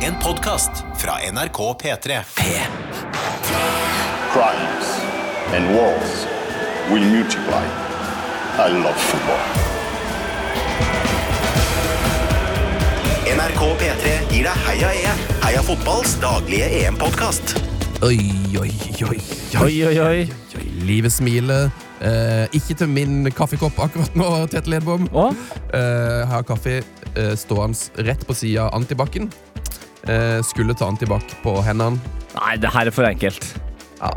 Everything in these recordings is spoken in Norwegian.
En podkast fra NRK P3. crimes and wars will multiply. I love football. NRK P3 gir deg Heia EM. Heia fotballs daglige EM-podkast. Oi, oi, oi, oi. Oi, oi, oi. Livet smiler. Eh, ikke til min kaffekopp akkurat nå, Tete Ledbom. Å? Eh, her har kaffe eh, stående rett på sida av antibac-en. Eh, skulle ta antibac på hendene. Nei, det her er for enkelt. Ja.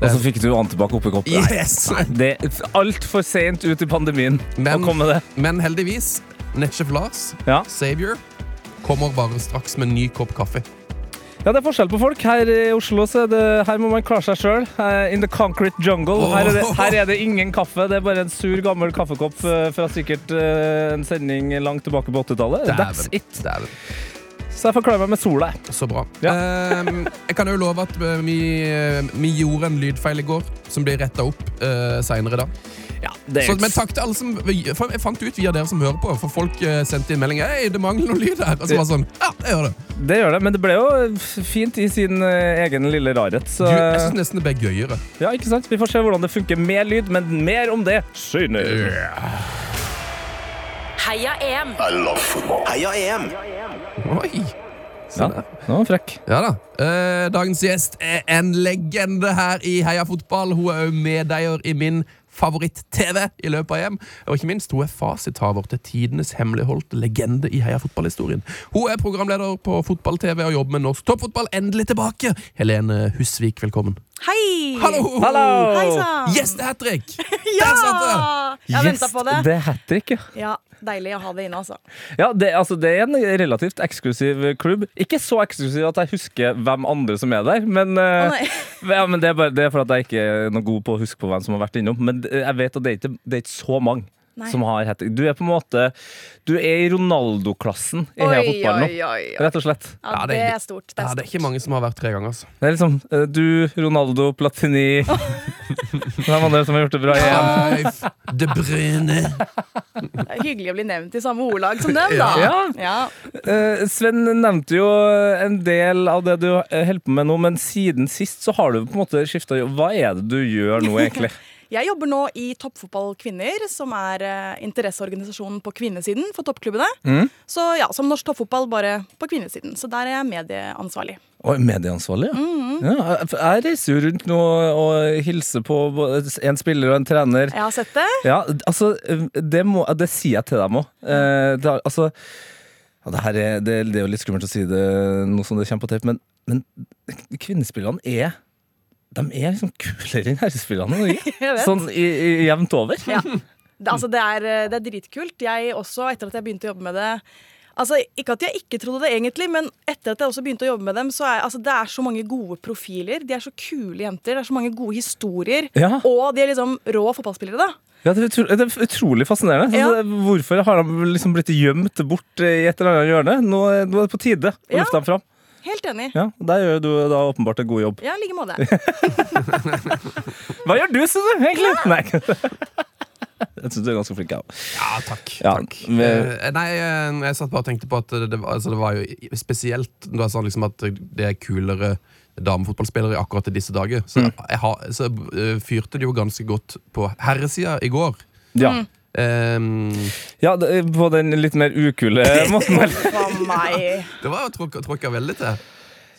Og så fikk du antibac oppi koppen. Nei. Yes! Det er altfor seint ut i pandemien Men- å komme med det. Men heldigvis, nettsjef Lars, Ja. Savior, kommer bare straks med en ny kopp kaffe. ja, det er forskjell på folk. Her i Oslo så er det, her må man klare seg sjøl. In the concrete jungle. Her er, det, her er det ingen kaffe. Det er bare en sur, gammel kaffekopp eh, fra sikkert eh, en sending langt tilbake på 80-tallet. That's Dæven. it. Dæven. Så jeg forklarer meg med sola. jeg. Så bra. Ja. Ehm, jeg kan jo love at eh, vi, eh, vi gjorde en lydfeil i går, som blir retta opp uh, seinere i dag. Ja, det Så, er men takk til alle som for Jeg fant ut via dere som hører på, for folk eh, sendte inn melding Hei, det mangler noe lyd her. Og så var det sånn Ja, jeg gjør det. det gjør det. Men det ble jo eh, fint i sin eh, egen lille rarhet. Så Du, jeg syns nesten det ble gøyere. ja, ikke sant? vi får se hvordan det funker med lyd, men mer om det senere. Heia EM! I love football. Heia EM. Oi. Ja, nå var han frekk. Ja da. Eh, dagens gjest er en legende her i Heia fotball. Hun er òg medeier i min favoritt-TV i løpet av EM. Og ikke minst, hun er fasithaver til tidenes hemmeligholdte legende i Heia fotball-historien. Hun er programleder på fotball-TV og jobber med norsk toppfotball. Endelig tilbake! Helene Husvik, velkommen. Hei! Hallo! Hallo! Hei sann! Yes, det er hat trick! Ja! Der satt det! Jeg har venta på det. Det er hat trick, ja. Ja, Deilig å ha det inne, altså. ja det, altså, det er en relativt eksklusiv klubb. Ikke så eksklusiv at jeg husker hvem andre som er der, men, eh, Å, nei. ja, men det, er bare, det er for at jeg ikke er noe god på å huske på hvem som har vært innom. Men eh, jeg vet at det er ikke, det er ikke så mange. Nei. Som har hat trick. Du er på en måte Du er i Ronaldo-klassen i Heia Fotball nå. Rett og slett. Ja, Ja, det det er- er stort. Det Ja, er det er stort. ikke mange som har vært tre ganger. Altså. Det er liksom eh, du, Ronaldo, Platini Hvem andre som har gjort det bra igjen? Leif de Bruyne. Det er hyggelig å bli nevnt i samme ordlag som dem, da. Ja. Ja. Eh, Sven nevnte jo eh, en del av det du eh, holder på med nå, men siden sist så har du på en måte skifta jobb. Hva er det du gjør nå, egentlig? Jeg jobber nå i Toppfotball Kvinner, som er eh, interesseorganisasjonen på kvinnesiden for toppklubbene. Mm. Så ja, Som norsk toppfotball, bare på kvinnesiden. Så der er jeg medieansvarlig. Oi, medieansvarlig, ja. ja. jeg- Jeg reiser jo rundt nå og hilser på både en spiller og en trener. Jeg har sett det. Ja, altså, det, må, det sier jeg til dem òg. Altså, ja, det, her er, det, det er jo litt skummelt å si det nå som det kommer på tape, men, men kvinnespillene er de er liksom kulere enn herrespillene i Norge. Jeg vet. Sånn i, i, jevnt over. Ja. Det, altså, det, er, eh, det er dritkult. Jeg også, etter at jeg begynte å jobbe med det Altså, Ikke at jeg ikke trodde det, egentlig, men etter at jeg også begynte å jobbe med dem, så er altså, det er så mange gode profiler. De er så kule jenter. Det er så mange gode historier. Ja. Og de er liksom rå fotballspillere, da. Ja, det, er utro, det er utrolig fascinerende. Ja. Så det- Hvorfor har de liksom blitt gjemt bort i et eller annet hjørne? Nå, er- nå er det på tide å Ja. løfte dem fram. Helt enig. Ja, der gjør du da åpenbart en god jobb. Ja, i like måte. Hva gjør du, Sune, egentlig? Nei. Jeg syns du er ganske flink, jeg òg. Ja, takk. Ja, takk. men- Eh, nei, eh, jeg satt bare og tenkte på at det, det, var- altså, det var jo i- spesielt da jeg sa liksom at det er kulere damefotballspillere akkurat i disse dager. Så, jeg har, så eh, fyrte det jo ganske godt på herresida i går. Ja. Ehm, Ja, det- på den litt mer ukule måten. vel? For meg. det var jo tråkka- tråkka veldig til,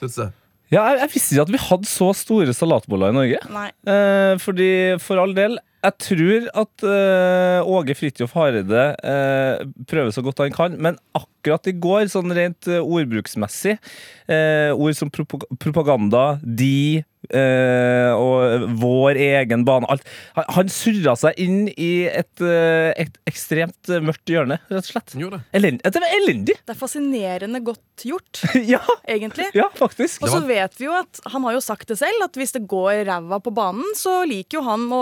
syns jeg. Ja, jeg, jeg visste ikke at vi hadde så store salatboller i Norge. Nei. Eh, fordi, for all del, jeg tror at eh, Åge Fridtjof Hareide eh, prøver så godt han kan, men akkurat i går, sånn rent eh, ordbruksmessig, eh, ord som propa- propaganda, de eh, og vår egen bane alt. Han, han surra seg inn i et, eh, et ekstremt eh, mørkt hjørne, rett og slett. Gjorde det. Elend, det var elendig! Det er fascinerende godt gjort, ja, egentlig. ja, faktisk. Og så vet vi jo at han har jo sagt det selv, at hvis det går ræva på banen, så liker jo han å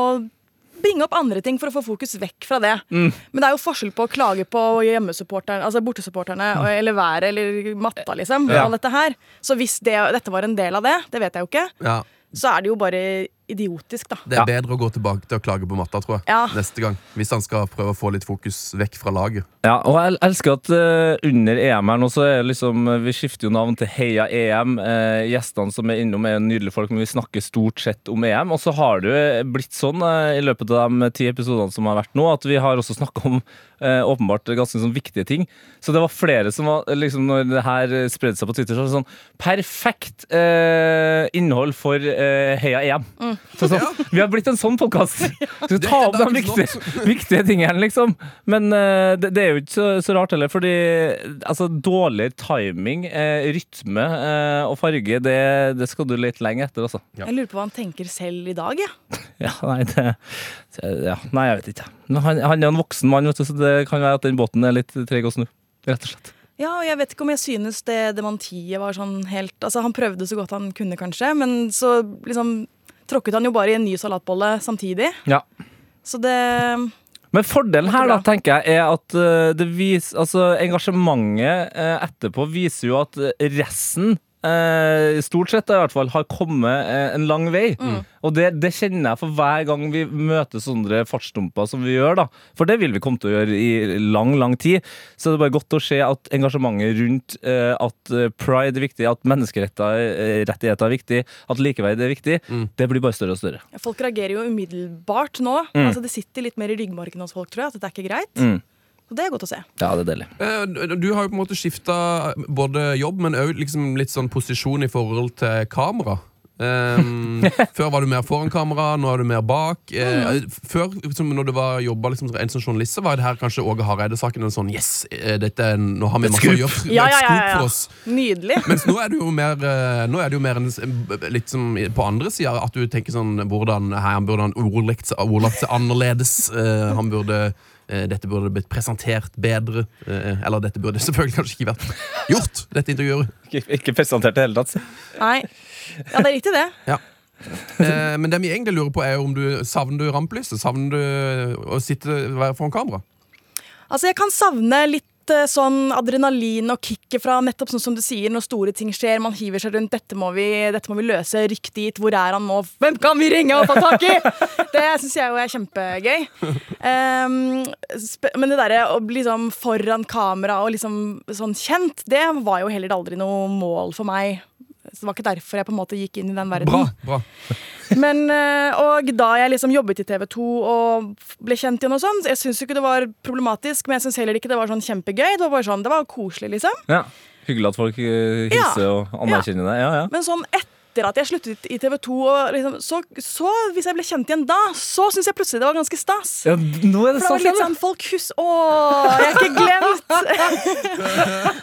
bringe opp andre ting for å få fokus vekk fra det. Mm. Men det er jo forskjell på å klage på hjemmesupporterne, altså bortesupporterne, og- Mm. eller været eller matta, liksom. Ja. Og alt dette her. Så hvis det, dette var en del av det, det vet jeg jo ikke, Ja. så er det jo bare idiotisk, da. Det er bedre å gå tilbake til å klage på matta, tror jeg. Ja. Neste gang, Hvis han skal prøve å få litt fokus vekk fra laget. Ja, og jeg elsker at eh, under EM her nå, så er det liksom eh, Vi skifter jo navn til Heia EM. Eh, gjestene som er innom, er jo nydelige folk, men vi snakker stort sett om EM. Og så har det jo blitt sånn eh, i løpet av de ti episodene som har vært nå, at vi har også snakka om eh, åpenbart ganske sånn viktige ting. Så det var flere som var eh, liksom Når det her eh, spredde seg på Twitter, så var det sånn Perfekt eh, innhold for eh, Heia EM. Så sånn, Vi har blitt en sånn podkast. Skal vi ta Mm. er opp de dagens viktige viktige ting her, liksom. Men eh, det, det er jo ikke så, så rart heller, fordi altså, dårlig timing, eh, rytme eh, og farge, det, det skal du lete lenge etter, altså. Jeg lurer på hva han tenker selv i dag, jeg. Ja. Ja, nei, det, ja, nei, jeg vet ikke. Men han, han er en voksen mann, vet du, så det kan være at den båten er litt treg å snu. Rett og slett. Ja, og jeg vet ikke om jeg synes det dementiet var sånn helt Altså, han prøvde så godt han kunne, kanskje, men så liksom tråkket han jo bare i en ny salatbolle samtidig. Ja. Så det Men fordelen her da, Måtte tenker jeg, er at eh, det vis, altså, engasjementet eh, etterpå viser jo at eh, resten eh, stort sett da, i hvert fall har kommet eh, en lang vei. Og det, det kjenner jeg for hver gang vi møter sånne fartsdumper som vi gjør. da. For det vil vi komme til å gjøre i lang, lang tid. Så det er bare godt å se at engasjementet rundt eh, at eh, pride er viktig, at menneskerettigheter er viktig, at likeverd er viktig, det blir bare større og større. Folk reagerer jo umiddelbart nå. Altså, Det sitter litt mer i ryggmargen hos folk, tror jeg, at dette er ikke greit. Så det er godt å se. Ja, det er deilig. Eh, Du har jo på en måte skifta både jobb, men òg liksom litt sånn posisjon i forhold til kamera. Ehm, før var du mer foran kamera, nå er du mer bak. Eh, før, som når du var jobba liksom, som en som journalist, så var det her kanskje Åge Hareide-saken en sånn Yes, eh, dette er en, nå har vi masse å gjøre. Det er et scoop for oss. Nydelig. Mens nå er det jo mer, eh, nå er det jo mer en, s- b- litt som i- på andre sider at du tenker sånn hvordan, her, Han burde han ordlagt, seg- ordlagt seg annerledes. eh, han burde eh, dette burde blitt presentert bedre. eh, eller dette burde selvfølgelig kanskje ikke vært gjort, dette intervjuet. Ikke, ikke presentert i det hele tatt. Nei. Ja, det er riktig, det. Eh, men det vi egentlig lurer på, er jo om du savner du rampelyset? Savner du eh, å sitte være foran kamera? Altså, jeg kan savne litt eh, sånn adrenalin og kicket fra nettopp sånn som du sier, når store ting skjer, man hiver seg rundt, dette må vi, dette må vi løse, rykk dit, hvor er han nå, hvem kan vi ringe og få tak i? Det syns jeg jo er kjempegøy. Ehm, sp- men det derre å bli liksom foran kamera og liksom sånn kjent, det var jo heller aldri noe mål for meg. Så det var ikke derfor jeg på en måte gikk inn i den verden. Bra. bra Men, eh, og da jeg liksom jobbet i TV 2 og f- ble kjent igjen og sånn, jeg syns jo ikke det var problematisk, men jeg syns heller ikke det var sånn kjempegøy. Det var bare sånn, det var koselig, liksom. Ja. Hyggelig at folk eh, hilser Ja. og anerkjenner deg. Ja, ja. Men sånn etter at jeg sluttet i TV 2, og liksom, så, så hvis jeg ble kjent igjen da, så syns jeg plutselig det var ganske stas. Ja, nå er For det var litt sånn folk hus... Å, jeg er ikke glemt!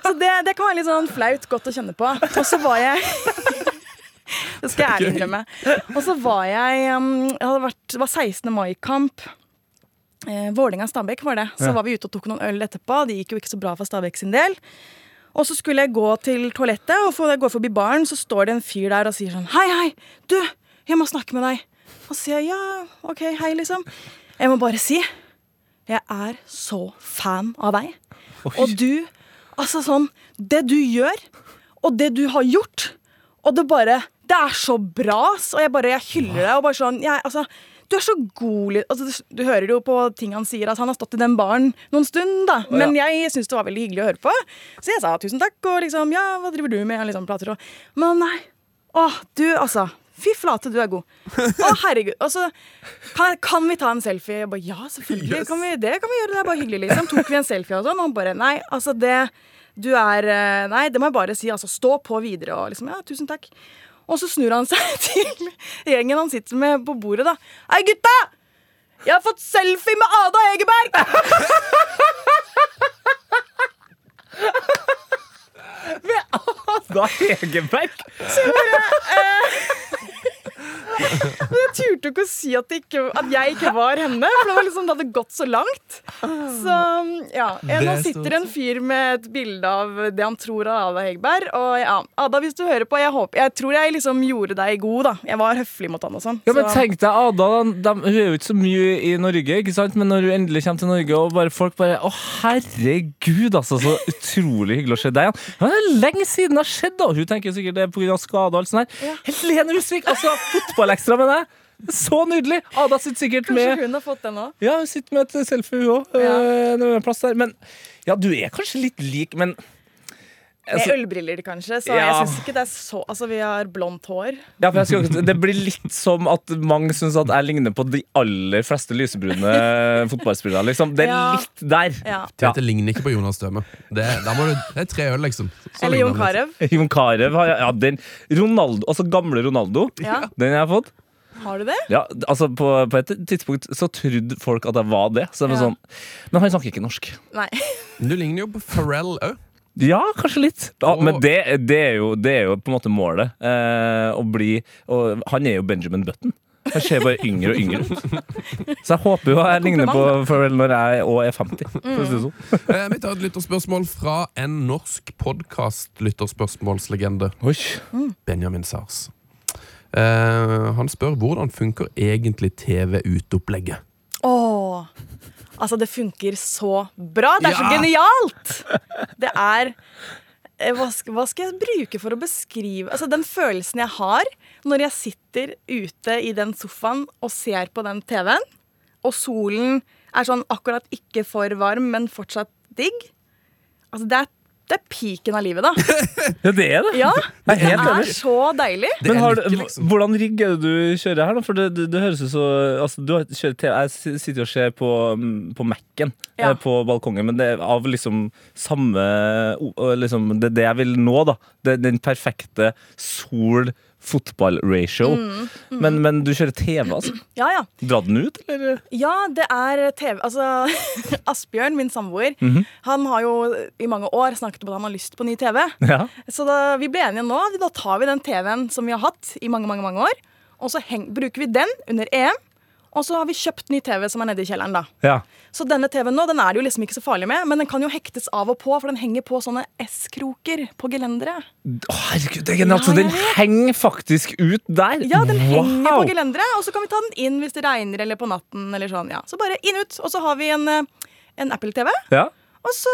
så det, det kan være litt sånn flaut godt å kjenne på. Og så var jeg Det skal jeg ærlig innrømme. Og så var jeg um, jeg hadde vært, Det var 16. mai-kamp. Eh, Vålerenga-Stabæk var det. Så Ja. var vi ute og tok noen øl etterpå. Det gikk jo ikke så bra for Stabæk sin del. Og så skulle jeg gå til toalettet, og for- når jeg går forbi baren, så står det en fyr der og sier sånn Hei, hei, du, jeg må snakke med deg. Og så sier jeg ja, OK, hei, liksom. Jeg må bare si jeg er så fan av deg. Og du Altså sånn Det du gjør, og det du har gjort, og det bare Det er så bra, ass. Og jeg bare Jeg hyller deg, og bare sånn jeg, Altså, du er så god li- altså, du, du hører jo på ting han sier, at han har stått i den baren noen stund, da. Men jeg syns det var veldig hyggelig å høre på. Så jeg sa tusen takk, og liksom Ja, hva driver du med? Og liksom prater og Men nei. Åh, du, altså. Fy flate, du er god. Å, herregud. Altså, kan, kan vi ta en selfie? Jeg bare, ja, selvfølgelig. Kan vi, det kan vi gjøre. Det er bare hyggelig, liksom. Tok vi en selfie og sånn? Og han bare, nei, altså det Du er eh, Nei, det må jeg bare si. Altså, stå på videre og liksom Ja, tusen takk. Og så snur han seg til gjengen han sitter med på bordet, da. Hei, gutta! Jeg har fått selfie med Ada Egeberg! Da Hegerberg! Jeg turte jo ikke å si at, det ikke, at jeg ikke var henne, for det, var liksom, det hadde gått så langt. Så ja, eh, Nå er sitter en fyr med et bilde av det han tror av Ada Hegerberg. Og ja, Ada, hvis du hører på, jeg, håper, jeg tror jeg liksom gjorde deg god, da. Jeg var høflig mot han og sånn. Ja, men så- tenk deg Ada, da. Dem- hun er jo ikke så mye i Norge, ikke sant? men når hun endelig kommer til Norge, og bare folk bare Å, herregud, altså, så utrolig hyggelig å se deg igjen. Ja, det er lenge siden det har skjedd, da! Hun tenker sikkert det er pga. skade og alt sånt her. Helene Husvik, altså, fotballekstra med deg! Så nydelig! Ada sitter sikkert Kanskje med hun har fått den òg. Ja, hun sitter med et selfie, hun òg. Ja. Eh, det er plass der. Men ja, du er kanskje litt lik, men Det Altså- er ølbriller, kanskje, så jeg Ja. syns ikke det er så Altså, vi har blondt hår. ja, for jeg skulle, akkurat- Det blir litt som at mange syns at jeg ligner på de aller fleste lysebrune fotballspillere. Liksom. Det er Ja. litt der. Ja. Tete ligner ikke på Jonas Døme. Det, da må du, det er tre øl, liksom. Så Eller ligner Jon han litt. Carew. Jon Carew har jeg- ja, den Ronaldo, altså gamle Ronaldo. Ja. Den jeg har fått. Har du det? Ja, altså på, på et tidspunkt så trodde folk at jeg var det. Så det var Ja. sånn Men han snakker ikke norsk. Nei. Du ligner jo på Pharrell òg. Ja, kanskje litt. Ja, Og- men det, det, er jo, det er jo på en måte målet. Eh, å bli og Han er jo Benjamin Button. Han ser bare yngre og yngre ut. Så jeg håper jo jeg ligner på Pharrell når jeg òg er 50. For å si det sånn. Eh, Vi tar et lytterspørsmål fra en norsk podkast-lytterspørsmålslegende. Oi. Benjamin Sars. Eh, han spør hvordan funker egentlig TV-uteopplegget. Åh. Altså, det funker så bra. Det er så Ja. genialt! Det er eh, hva skal, hva skal jeg bruke for å beskrive Altså, Den følelsen jeg har når jeg sitter ute i den sofaen og ser på den TV-en, og solen er sånn akkurat ikke for varm, men fortsatt digg Altså, det er, det er piken av livet, da. Ja, det er det. Ja, Jeg Det er helt er enig. så deilig. Det Men er har du, lykke, liksom. Hvordan rigg er det du kjører her, da? For det, det, det høres ut så altså, du har- kjører TV, Jeg si- sitter og ser på, mm, på Mac-en Ja. eh, på balkongen, men det er av liksom samme o- og liksom, Det er det jeg vil nå, da. Det, er den perfekte sol-fotball-ratio. Mm, Men, men du kjører TV, altså? Ja, ja. Dra den ut, eller? Ja, det er TV Altså, Asbjørn, min samboer, Mhm. han har jo i mange år snakket om at han har lyst på ny TV. Ja. Så da, vi ble enige nå. Da tar vi den TV-en som vi har hatt i mange mange, mange år, og så heng, bruker vi den under EM. Og så har vi kjøpt ny TV som er nede i kjelleren. da. ja. Så denne TV-en nå, den er det jo liksom ikke så farlig med, men den kan jo hektes av og på, for den henger på sånne S-kroker på gelenderet. Å, herregud, det er genialt! så Ja, den jeg vet. henger faktisk ut der! Ja, den henger Wow. på gelenderet, og så kan vi ta den inn hvis det regner eller på natten. eller sånn, ja. Så bare inn ut. Og så har vi en, eh, en Apple-TV, Ja. og så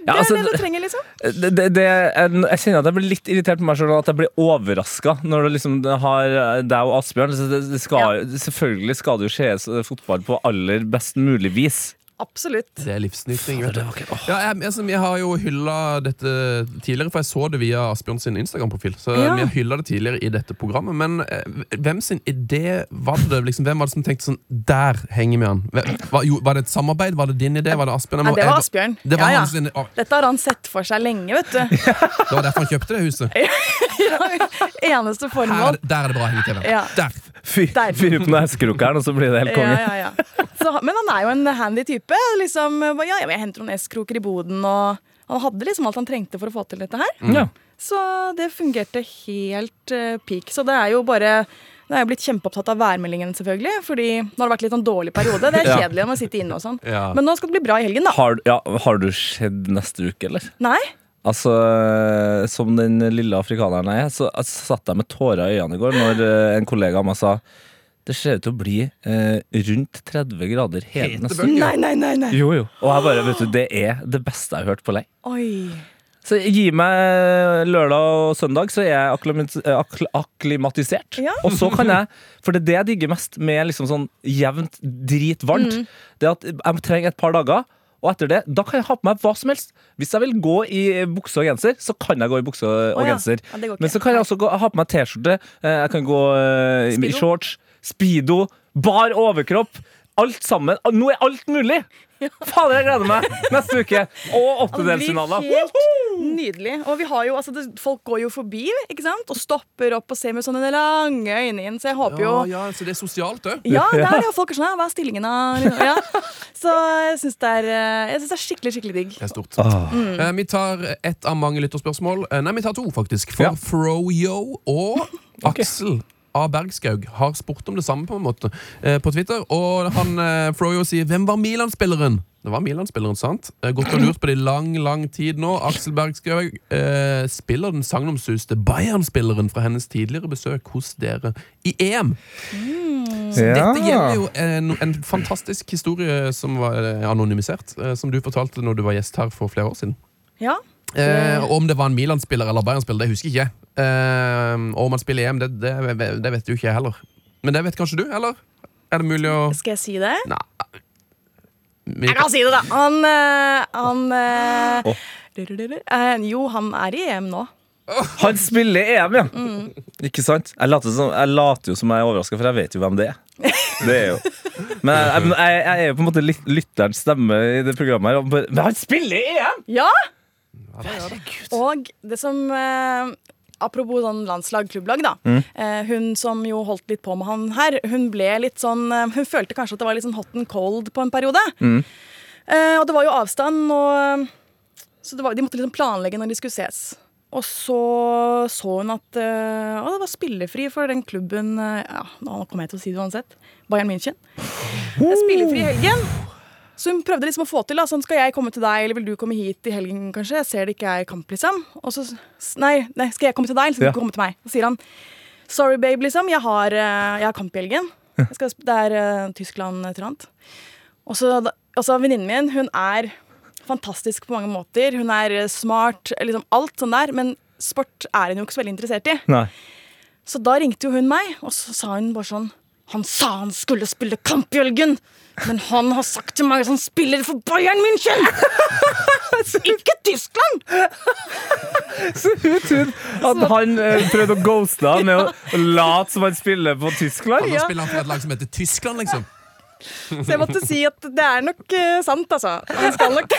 Det Ja, altså, er det du trenger, liksom. det, det, det, jeg, jeg kjenner at jeg blir litt irritert på meg selv og at jeg blir overraska når du liksom har eh, deg og Asbjørn. Så det, det skal, jo- Selvfølgelig skal det jo skje s- fotball på aller best mulig vis. Absolutt. Det er livsnyting. vet du. Ja, jeg, jeg, som- jeg har jo hylla dette tidligere, for jeg så det via Asbjørn sin Instagram-profil. Så eh, Ja. vi har hylla det tidligere i dette programmet. Men eh, hvem sin idé var det? Liksom, hvem var det som tenkte sånn Der henger vi an! Hvem- Var, jo, var det et samarbeid? Var det din idé? Var det Asbjørn? Jeg Nei, må- det var jeg- Asbjørn. Det var Ja, ja. hans idé. Å, Dette har han sett for seg lenge, vet du. det var derfor han kjøpte det huset. Eneste Her, formål. der er det bra henge-TV. Ja. Der! Fyr Der. fyr opp noen heskrokeren, og så blir det helt Ja, konge. ja, ja. Så, han- men han er jo en handy type. liksom, eh, ja, Jeg henter noen S-kroker i boden, og han hadde liksom alt han trengte for å få til dette her. Ja. Så det fungerte helt eh, peak. Så det er jo bare Nå er jeg blitt kjempeopptatt av værmeldingen, selvfølgelig. Fordi nå har det vært litt sånn dårlig periode. Det er Ja. kjedelig å sitte inne og sånn. Ja. Men nå skal det bli bra i helgen, da. Har, ja, har du skjedd neste uke, eller? Nei? Altså, eh, Som den lille afrikaneren jeg er, så altså, satt jeg med tårer i øynene i går når eh, en kollega av meg sa det ser ut til å bli eh, rundt 30 grader hele Hete neste bølger. Nei, nei, nei. nei. Jo, jo. Og jeg bare, vet du, det er det beste jeg har hørt på lei. Oi. Så gi meg eh, lørdag og søndag, så er jeg akklimat- akkl- akklimatisert. Ja. Og så kan jeg, for det er det jeg digger mest med liksom sånn jevnt dritvarmt, Mm. det er at jeg trenger et par dager. Og etter det, da kan jeg ha på meg hva som helst. Hvis jeg vil gå i bukse og genser, så kan jeg gå i bukse og Å ja. genser. Ja, det går ikke. Men så kan jeg også gå, ha på meg T-skjorte, eh, jeg kan gå eh, i Speedo. shorts, speedo, bar overkropp. Alt sammen. Nå er alt mulig! Fader, jeg gleder meg! Neste uke. Og Ja, Det blir åttedelsfinaler. helt nydelig. Og vi har jo, altså, det, folk går jo forbi ikke sant? og stopper opp og ser med sånne lange øyne inn, så jeg håper jo Ja, ja, så det er sosialt òg. Ja, det er det, og folk er sånn «Ja, Hva er stillingen, da? Ja. Så jeg syns det, er, eh, jeg synes det er skikkelig, skikkelig digg. Det er stort. Mm. Eh, vi tar ett av mange lytterspørsmål. Eh, nei, vi tar to, faktisk. For Ja. Froyo og Aksel A. Bergskaug har spurt om det samme på en måte eh, på Twitter. Og han, eh, Froyo sier 'Hvem var Milan-spilleren?' Det var Milan-spilleren, sant? Eh, Gått og lurt på det i lang, lang tid nå. Aksel Bergskaug eh, spiller den sagnomsuste Bayern-spilleren fra hennes tidligere besøk hos dere i EM. Ah. Dette gjelder jo en, en fantastisk historie som var eh, anonymisert, eh, som du fortalte når du var gjest her for flere år siden. Ja. Eh, og om det var en Milan-spiller eller Bayern-spiller, det husker jeg ikke. Eh, og om han spiller i EM, det, det, det vet jo ikke jeg heller. Men det vet kanskje du, eller? Er det mulig å Skal jeg si det? Nei. Jeg kan si det, da! Han, eh, han eh, eh, Jo, han er i EM nå. Han spiller i EM, ja! Mm. Ikke sant? Jeg later, som, jeg later jo som jeg er overraska, for jeg vet jo hvem det er. Det er jo. Men jeg, jeg, jeg, jeg er jo på en måte lyt- lytterens stemme i det programmet. her og bare, Men han spiller i EM! Ja! Og det som eh, Apropos sånn landslag, klubblag, da. Eh, hun som jo holdt litt på med han her, hun ble litt sånn eh, Hun følte kanskje at det var litt sånn hot and cold på en periode. Eh, og det var jo avstand, og eh, Så det var, de måtte liksom planlegge når de skulle ses. Og så så hun at eh, å, det var spillefri for den klubben eh, ja, Nå kommer jeg til å si det uansett. Bayern München. Det er spillefri i helgen. Så hun prøvde liksom å få til da, sånn, skal jeg komme til deg, eller vil du komme hit i helgen kanskje? Jeg ser det ikke er kamp, liksom. Og så, s- nei, nei, skal jeg komme til deg, eller skal Ja. du komme til meg? Så sier han, sorry babe, liksom, jeg har, eh, jeg har kamp i helgen. Jeg skal, sp- det er eh, Tyskland et eller annet. Og så, og så venninnen min, hun er fantastisk på mange måter. Hun er eh, smart, liksom alt sånn der, men sport er hun jo ikke så veldig interessert i. Nei. Så da ringte jo hun meg, og så sa hun bare sånn Han sa han skulle spille kamp i helgen, men han har sagt til meg at han spiller for Bayern München! Ikke Tyskland! Så hun trodde at han eh, prøvde å ghoste henne med å- å late som han spiller på Tyskland. Nå Ja. spiller han for et lag som heter Tyskland, liksom. Så jeg måtte si at det er nok eh, sant, altså. Han skal nok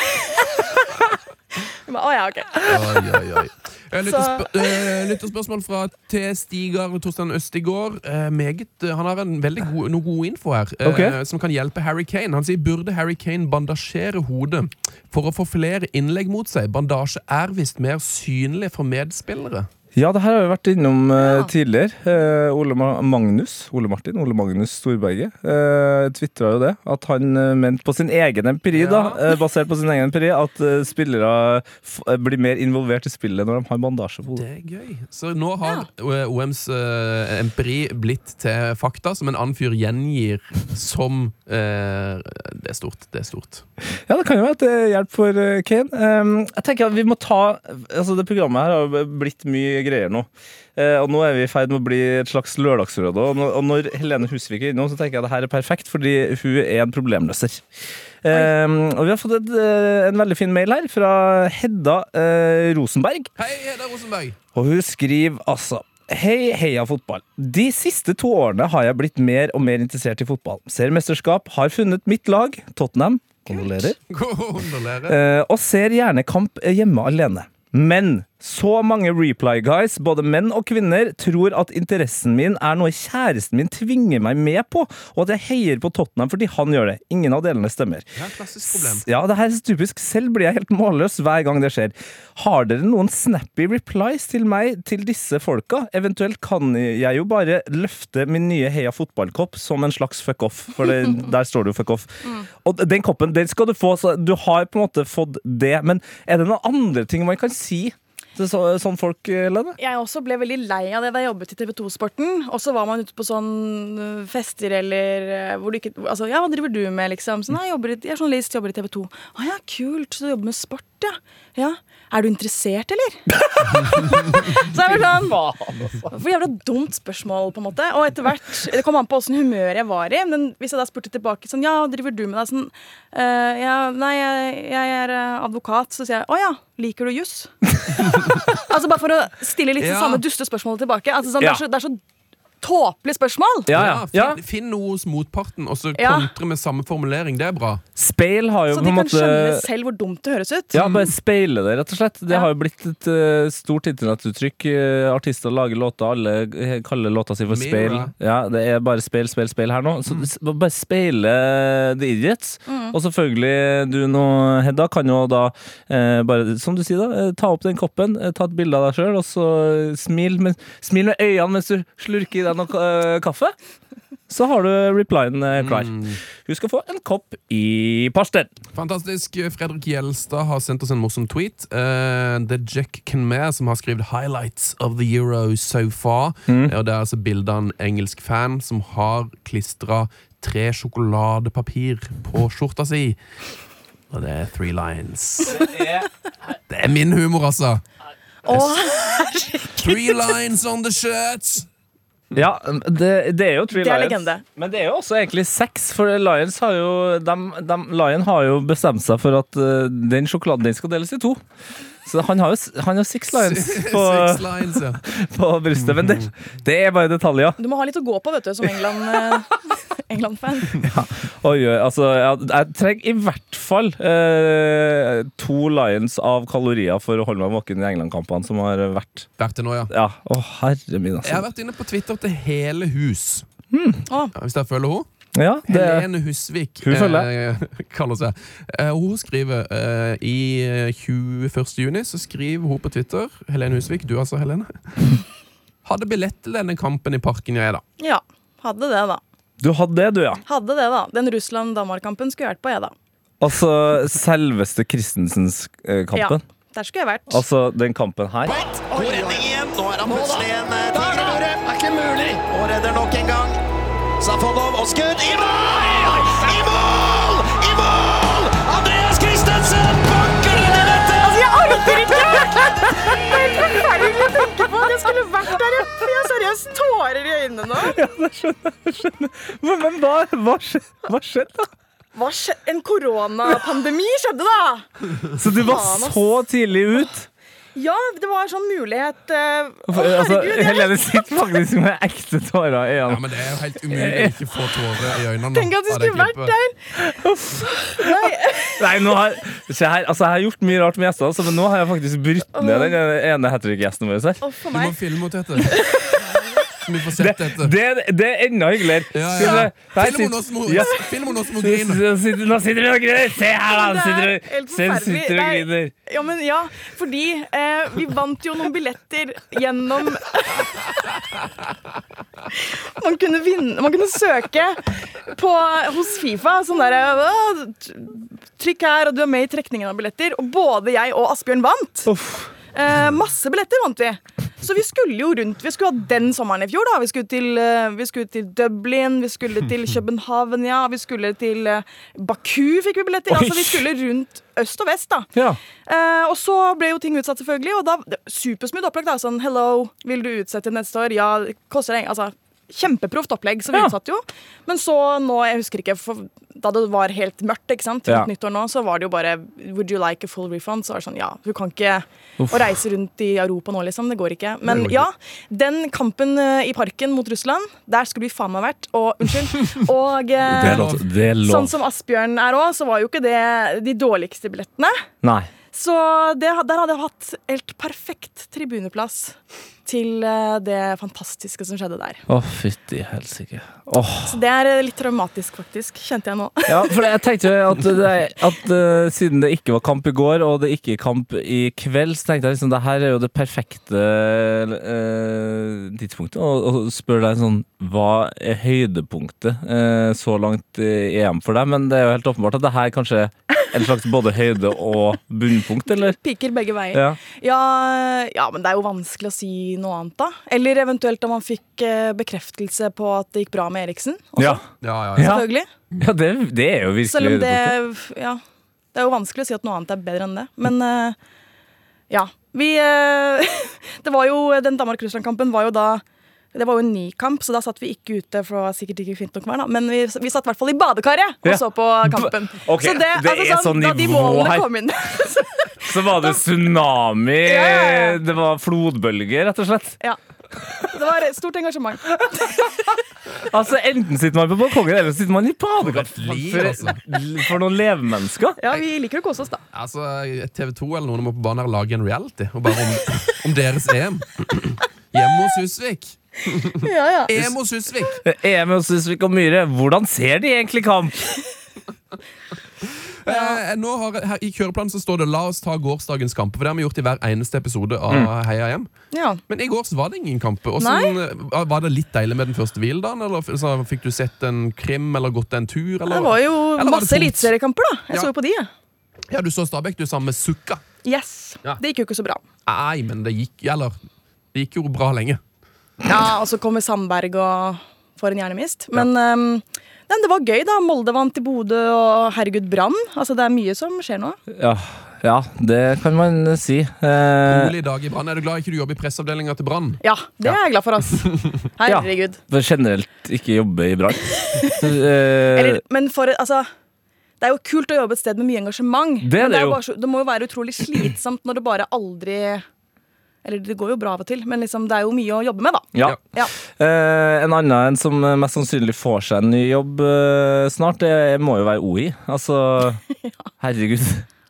Jeg bare, Å ja, ok. Oi, oi, oi. Eh, Så- lyttespør- eh, Lytterspørsmål fra T. Stigar Torstein Østigård. Eh, meget, eh, han har en veldig god, noe god info her, eh, Ok. som kan hjelpe Harry Kane. Han sier burde Harry Kane bandasjere hodet for å få flere innlegg mot seg. Bandasje er visst mer synlig for medspillere. Ja, det her har vi vært innom eh, tidligere. Eh, Ole Ma Magnus, Ole Martin, Ole Magnus Storberget uh, tvitra jo det. At han eh, mente på sin egen empiri, da, eh, basert på sin egen empiri, at eh, spillere f eh, blir mer involvert i spillet når de har bandasje på hodet. Det er gøy. Så nå har eh, OMs eh, empiri blitt til fakta som en annen fyr gjengir som eh, Det er stort. Det er stort. Ja, det kan jo være til hjelp for eh, Kane. Ehm, jeg tenker at vi må ta Altså, det programmet her har jo blitt mye greier nå. Eh, og nå er vi i ferd med å bli et slags lørdagsråd. Og, nå- og når Helene Husvik er innom, så tenker jeg at det her er perfekt, fordi hun er en problemløser. Ehm, og vi har fått et, eh, en veldig fin mail her fra Hedda eh, Rosenberg. Hei, Hedda Rosenberg! Og hun skriver altså Hei, heia fotball. De siste to årene har jeg blitt mer og mer interessert i fotball. Ser mesterskap, har funnet mitt lag, Tottenham. Kondolerer. Kondolerer. Eh, og ser gjerne kamp eh, hjemme alene. Men så mange reply guys, både menn og kvinner, tror at interessen min er noe kjæresten min tvinger meg med på, og at jeg heier på Tottenham fordi han gjør det. Ingen av delene stemmer. Ja, klassisk problem. S- Ja, det her er så typisk. Selv blir jeg helt målløs hver gang det skjer. Har dere noen snappy replies til meg til disse folka? Eventuelt kan jeg jo bare løfte min nye Heia fotballkopp som en slags fuck off, for det, der står det jo fuck off. Og den koppen, den skal du få, så du har på en måte fått det, men er det noen andre ting man kan si til så, sånn folk, Lene? Jeg også ble veldig lei av det da jeg jobbet i TV 2-sporten. Og så var man ute på sånn øh, fester eller øh, hvor du ikke Altså, ja, hva driver du med, liksom? Så nei, jeg, jobber i, jeg er journalist, jobber i TV 2. Å ja, kult. Så du jobber med sport, ja. ja. Er du interessert, eller? så jeg var sånn altså. For jævla dumt spørsmål, på en måte. Og etter hvert Det kom an på åssen humør jeg var i. Men hvis jeg da spurte tilbake sånn Ja, hva driver du med, da? Sånn «Eh, ja, Nei, jeg, jeg er eh, advokat. Så sier jeg Å ja, liker du juss? altså bare for å stille litt det Ja. samme duste spørsmålet tilbake. Altså, sånn, Ja. det, er så, det er så tåpelig spørsmål! Ja, Ja, ja. finn, ja. finn noe hos motparten, og så Ja. kontre med samme formulering. Det er bra. Speil har jo Så på de en kan måte skjønne selv hvor dumt det høres ut. Ja, Mm. bare speile det, rett og slett. Det Ja. har jo blitt et eh, stort internetuttrykk. Eh, artister lager låter, alle eh, kaller låta si for Mirror. speil. Ja, det er bare speil, speil, speil her nå. Så Mm. s- bare speile the idiots. Og selvfølgelig, eh, du nå, Hedda, kan jo da eh, bare, som du sier da, eh, ta opp den koppen, eh, ta et bilde av deg sjøl, og så eh, smil med, smil med øynene mens du slurker i deg noe eh, kaffe. Så har du replyen eh, klar. Mm. Hun skal få en kopp i pastell. Fantastisk. Fredrik Gjelstad har sendt oss en morsom tweet. Eh, det er Jack Kenmare som har skrevet 'Highlights of the Euro so far'. Eh, Og Det er altså bilde av en engelsk fan som har klistra tre sjokoladepapir på skjorta si. Og det er three lines. Det er min humor, altså. Åh, Three lines on the shirt. Ja, det, det er jo Three Det er Lions. legende. Men det er jo også egentlig seks, for Lions har jo, dem, dem, Lion har jo bestemt seg for at eh, den sjokoladen den skal deles i to. Så han har jo s- han har six lions på, Six lines, ja. på brystet. Men det, det er bare detaljer. Du må ha litt å gå på, vet du, som England, eh, England-fan. Oi, oi, altså, jeg, jeg trenger i hvert fall eh, to Lions av kalorier for å holde meg våken i England-kampene som har vært. Vært det nå, ja. Ja, Å, herre min, Jeg har altså. vært inne på Twitter til hele hus. Å. Ja, hvis jeg følger henne. Ja, Hmm. det, Helene Husvik Hun følger. eh, kaller seg. Eh, hun skriver eh, i eh, 21. juni så skriver hun på Twitter Helene Husvik, du altså, Helene. Hadde billett til denne kampen i parken, jeg, da. Ja. Hadde det, da. du hadde det, du, ja. Hadde det, da. Den Russland-Danmark-kampen skulle jeg vært på, jeg, da. Altså selveste eh, Christensens-kampen. Ja, der skulle jeg vært. Altså den kampen her. God redning igjen. Nå er han plutselig en eh, tiger over. Det er ikke mulig. Og redder nok en gang. Safonov og skudd. I mål! I mål! I mål! Andreas Christensen banker den i nettet! Altså, jeg orker ikke! Det er helt forferdelig å tenke på at jeg skulle vært der. Jeg jeg har seriøst tårer i øynene nå. Men, men hva, hva, skjedde, hva skjedde, da? Hva skje? En koronapandemi skjedde, da! Så du var Faen, ass. så tidlig ut? Ja, det var sånn mulighet eh, Å, altså, herregud! jeg- Helene sitter faktisk med ekte tårer i Ja, øynene. men Det er jo helt umulig å ikke få tårer i øynene. Tenk at du av det skulle vært klippet. der! Nei, Nei, nå har, se her, altså, jeg har gjort mye rart med gjester, altså, men nå har jeg faktisk brutt ned den ene hat trick-gjesten vår her. uff Du a må meg. filme henne, Tete. Så vi får sett dette. Det, det er enda hyggeligere. Ja, Skal ja. Film vi- Her henne sitter- nå som hun- Ja. film henne nå som hun griner. Nå sitter nå sitter hun og griner! Se her, da! Det hun Sitter, er og- helt se, hun forferdelig. sitter og Nei. griner. Ja, men ja, fordi eh, vi vant jo noen billetter gjennom man, kunne vinne, man kunne søke på, hos Fifa. Sånn der «Å, Trykk her, og du er med i trekningen av billetter. Og både jeg og Asbjørn vant. Eh, masse billetter vant vi. Så vi skulle jo rundt. Vi skulle ha den sommeren i fjor, da. Vi skulle til, eh, vi skulle til Dublin, vi skulle til København, ja. Vi skulle til eh, Baku, fikk vi billetter. Altså, vi skulle rundt øst og vest, da. Ja. Eh, og så ble jo ting utsatt, selvfølgelig. Og da det- Supersmooth opplegg. da, sånn, Hello, vil du utsette neste år? Ja, det koster det altså, Kjempeproft opplegg, så vi Ja. utsatte jo. Men så nå, jeg husker ikke, for da det var helt mørkt ikke sant, rundt Ja. nyttår nå, så var det jo bare Would you like a full refund? Så var det sånn, ja, du kan ikke å reise rundt i Europa nå, liksom. Det går ikke. Men Det går ikke. ja, den kampen eh, i parken mot Russland, der skulle vi faen meg vært. Og unnskyld. Og eh, Det er lov. Det er sånn lov. som Asbjørn er òg, så var jo ikke det de dårligste billettene. Nei. Så det, der hadde jeg hatt helt perfekt tribuneplass til eh, det fantastiske som skjedde der. Å, fytti helsike. Åh. Så det er eh, litt traumatisk, faktisk, kjente jeg nå. Ja, for jeg tenkte jo at, det, at eh, siden det ikke var kamp i går, og det ikke er kamp i kveld, så tenkte jeg liksom det her er jo det perfekte eh, tidspunktet. Og, og spør deg sånn Hva er høydepunktet eh, så langt i EM for deg? Men det er jo helt åpenbart at det her kanskje er en slags både høyde og bunnpunkt, eller? Piker begge veier. Ja. Ja. ja, men det er jo vanskelig å si noe annet, da. Eller eventuelt da man fikk eh, bekreftelse på at det gikk bra med Eriksen. også, Ja, Ja, ja, ja. ja. Selvfølgelig. ja det, det er jo virkelig Selv om det høydepunktet. Ja. Det er jo vanskelig å si at noe annet er bedre enn det. Men eh, ja. Vi eh, Det var jo Den Danmark-Russland-kampen var jo da det var jo en ny kamp, så da satt vi ikke ute. for det var sikkert ikke fint nok vær da. Men vi, vi satt i hvert fall i badekaret og Ja. så på kampen. altså, Ok, det er sånn Da de nivå målene her. kom inn Så var det tsunami, Ja, ja, ja. det var flodbølger, rett og slett. ja. Det var stort engasjement. Altså, Enten sitter man på balkongen, eller så sitter man i badekar. For et liv, For, altså. for noen levemennesker. Ja, Vi liker å kose oss, da. Altså, TV 2 eller noen må på banen her lage en reality og bare om, om deres EM. Hjemme hos Husvik. Ja, ja. EM hos Husvik. EM hos Susvik og Myhre, hvordan ser de egentlig kamp? Eh, nå har, her, I kjøreplanen så står det 'La oss ta gårsdagens kamp'. For Det har vi gjort i hver eneste episode av Mm. Heia hjem. ja. Men i går så var det ingen kamp. Og sånn, eh, var det litt deilig med den første hviledagen? Eller f- så fikk du sett en krim eller gått en tur? Eller, Det var jo eller var det masse tomt? eliteseriekamper, da. Jeg Ja. så jo på de. jeg. Ja, du så Stabæk, du sammen med Sukka. Yes. Ja. Det gikk jo ikke så bra. Nei, men det gikk Eller det gikk jo bra lenge. Ja, og så kommer Sandberg og får en hjernemist. Men ehm, nei, det var gøy, da. Molde vant i Bodø, og herregud, Brann. Altså, det er mye som skjer nå. Ja, Ja, det kan man eh, si. Eh, Rolig dag i Brann. Er du glad ikke du jobber i presseavdelinga til Brann? Ja, det er jeg glad for, ass. Herregud. for generelt ikke jobbe i brann. Eller, Eh, men for Altså. Det er jo kult å jobbe et sted med mye engasjement. Det er men det er jo. Bare, så- det må jo være utrolig slitsomt når det bare aldri Eller det går jo bra av og til, men liksom, det er jo mye å jobbe med, da. ja. Ja. Eh, en annen en som eh, mest sannsynlig får seg en ny jobb eh, snart, det må jo være OI. Altså, herregud.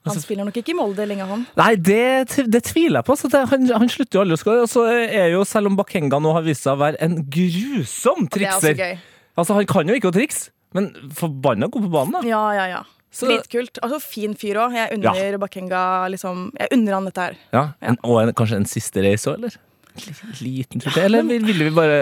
Han spiller nok ikke i Molde lenge, han. Nei, det, tv- det tviler jeg på. Så det, han, han slutter jo aldri å skåre. Og så er jo, selv om Bakenga nå har vist seg å være en grusom Det er også trikser gøy. Altså, han kan jo ikke å trikse, men forbanna god på banen, da. Ja, ja, ja. Så- Dritkult. Altså, fin fyr òg. Jeg unner Bakenga liksom, jeg unner han dette her. Ja, en, og en, kanskje en siste race òg, eller? En Liten tur til? Eller vil- ville vi bare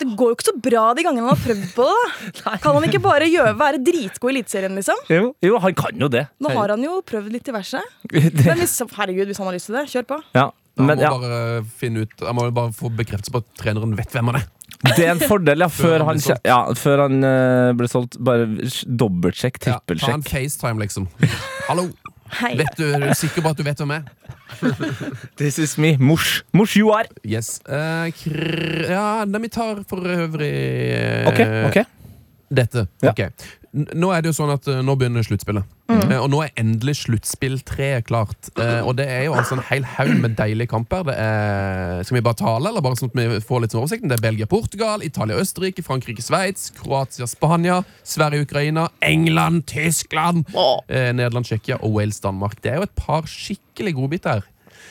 Det går jo ikke så bra de gangene han har prøvd på det. da. Kan han ikke bare gjøre, være dritgod i Eliteserien, liksom? jo, jo, han kan jo det. Nå har han jo prøvd litt diverse. det Men hvis, herregud, hvis han har lyst til det, kjør på. ja, Han men må ja, bare finne ut Han må vel bare få bekreftelse på at treneren vet hvem han er. det er en fordel, ja. Før han ble han, kje- solgt. ja, før han eh, ble solgt. Bare sj- dobbeltsjekk, Ja, ta en trippelsjekk. FaceTime, liksom. Hallo! Hei. Vet du, er du sikker på at du vet hvem jeg er? This is me. Mors. Mors you are. Yes. Eh, kr ja, nei, vi tar for øvrig eh, OK. ok dette. Ja. Ok. N- Nå er det jo sånn at eh, nå begynner sluttspillet. Mm. Eh, Og nå er endelig sluttspill tre klart. Eh, Og det er jo altså en hel haug med deilige kamper. Det er, skal vi bare tale, eller bare sånn at vi får litt sånn oversikten? Det er Belgia-Portugal, Italia-Østerrike, Frankrike-Sveits, Kroatia-Spania, Sverige-Ukraina, England, Tyskland, Åh. eh, Nederland-Tsjekkia og Wales-Danmark. Det er jo et par skikkelig godbiter.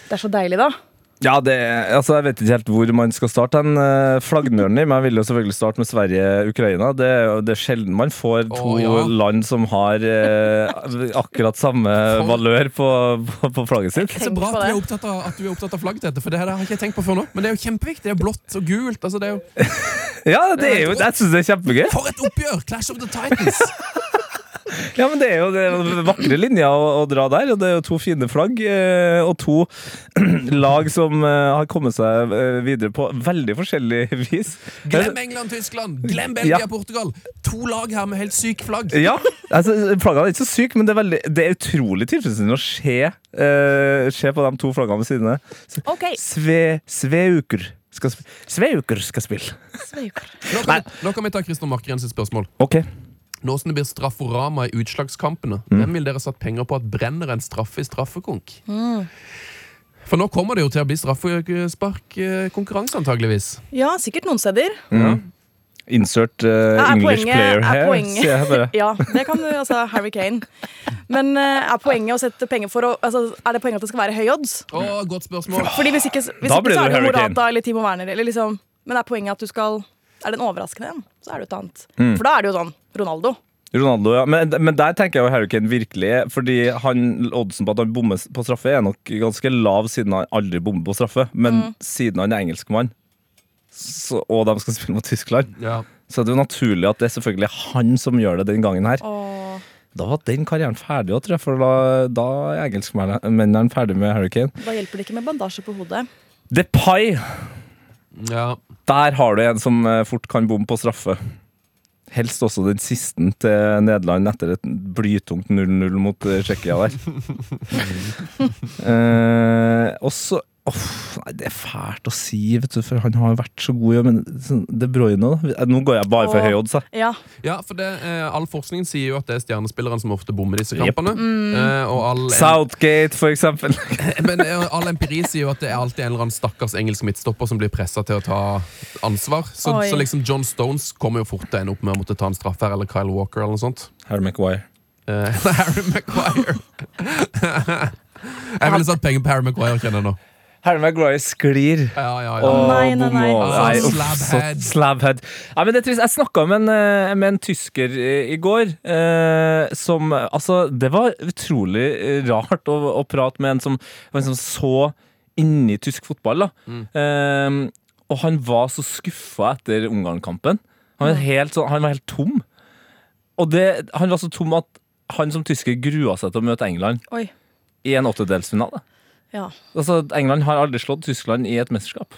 Det er så deilig, da. Ja, det, altså Jeg vet ikke helt hvor man skal starte. Den eh, Flaggnøren i meg vil jo selvfølgelig starte med Sverige-Ukraina. Det, er jo- det er sjelden man får to Å, ja. land som har eh, akkurat samme valør på, på, på flagget sitt. Så Tenk bra på at du, er det. opptatt av, at du er opptatt av flagg til dette, for det her har ikke jeg tenkt på før nå. Men det er jo kjempeviktig. Det er blått og gult. Altså, det er jo Ja, det er jo, Jeg syns det er kjempegøy. For et oppgjør! Clash of the Titans! Ja, men Det er jo det er jo vakre linjer å, å dra der. og Det er jo to fine flagg eh, og to lag som eh, har kommet seg eh, videre på veldig forskjellig vis. Glem England, Tyskland! Glem Belgia, Ja. Portugal! To lag her med helt syk flagg. Ja, altså Flaggene er ikke så syke, men det er, veldig, det er utrolig tilfredsstillende å se, eh, se på de to flaggene ved siden av. S- OK. Sve, sveuker skal spille. Sveuker skal spille. Sveiker. Nå kan, vi, nå kan vi ta Christian Markgren sitt spørsmål. Ok. Nå som det blir strafforama i utslagskampene, Mm. hvem vil dere satt penger på at brenner en straffe i straffekonk? For nå kommer det jo til å bli straffesparkkonkurranse, antageligvis. Ja, sikkert noen steder. Insert eh, Er English poenget- player er her, poenget- sier jeg bare. Ja, det kan du, altså Harry Kane. Men eh, er poenget å sette penger for å altså, Er det poenget at det skal være høy odds? Å, godt spørsmål! Fordi hvis ikke, hvis Da ikke blir det så er det Harry Kane. Morata eller Timo Werner. Eller liksom, men er poenget at du skal Er det en overraskende en, så er det et annet. Mm. For da er det jo sånn Ronaldo. Ronaldo, ja. Men, men der tenker jeg jo Harry Kane virkelig er, Fordi han, oddsen på at han bommer på straffe, er nok ganske lav, siden han aldri bommer på straffe. Men Mm. siden han er engelskmann, så, og de skal spille mot Tyskland, Ja. så er det jo naturlig at det er selvfølgelig han som gjør det den gangen her. Og Da var den karrieren ferdig også, tror jeg, for da, da er engelskmennene ferdig med Hurricane. da hjelper det ikke med bandasje på hodet. Depay! ja. Der har du en som eh, fort kan bomme på straffe. Helst også den siste til Nederland etter et blytungt 0-0 mot eh, Tsjekkia der. eh, og så Uff, nei, Det er fælt å si, vet du, for han har vært så god. ja, Men sånn, De Bruyne da. Eh, Nå går jeg bare for Åh. høy odds. jeg. Ja, ja, for det, eh, all forskningen sier jo at det er stjernespilleren som ofte bommer disse Jep. kampene. Eh, og all Southgate, for eksempel. Men eh, all empiri sier jo at det er alltid en eller annen stakkars engelsk midtstopper som blir pressa til å ta ansvar. Så, Oi. så liksom John Stones kommer jo fort til å ende opp med å måtte ta en straffe her, eller Kyle Walker eller noe sånt. Harry Maguire. Eh, Harry Maguire. jeg ville satt penger på Harry Maguire, kjenner jeg nå. Harry Maguire sklir. Ja, ja, ja. Åh, Nei, nei, nei. Sånn. bomma. Altså, Nei, uff, slabhead. så slabhead. Nei, men det er trist. Jeg snakka med, en, eh, med en tysker eh, i går eh, som Altså, det var utrolig eh, rart å, å prate med en som var liksom så inni tysk fotball, da. Eh, og han var så skuffa etter Ungarn-kampen. Han, Mm. var helt sånn, han var helt tom. Og det, han var så tom at han som tysker grua seg til å møte England oi. i en åttedelsfinale. Ja. Altså, England har aldri slått Tyskland i et mesterskap.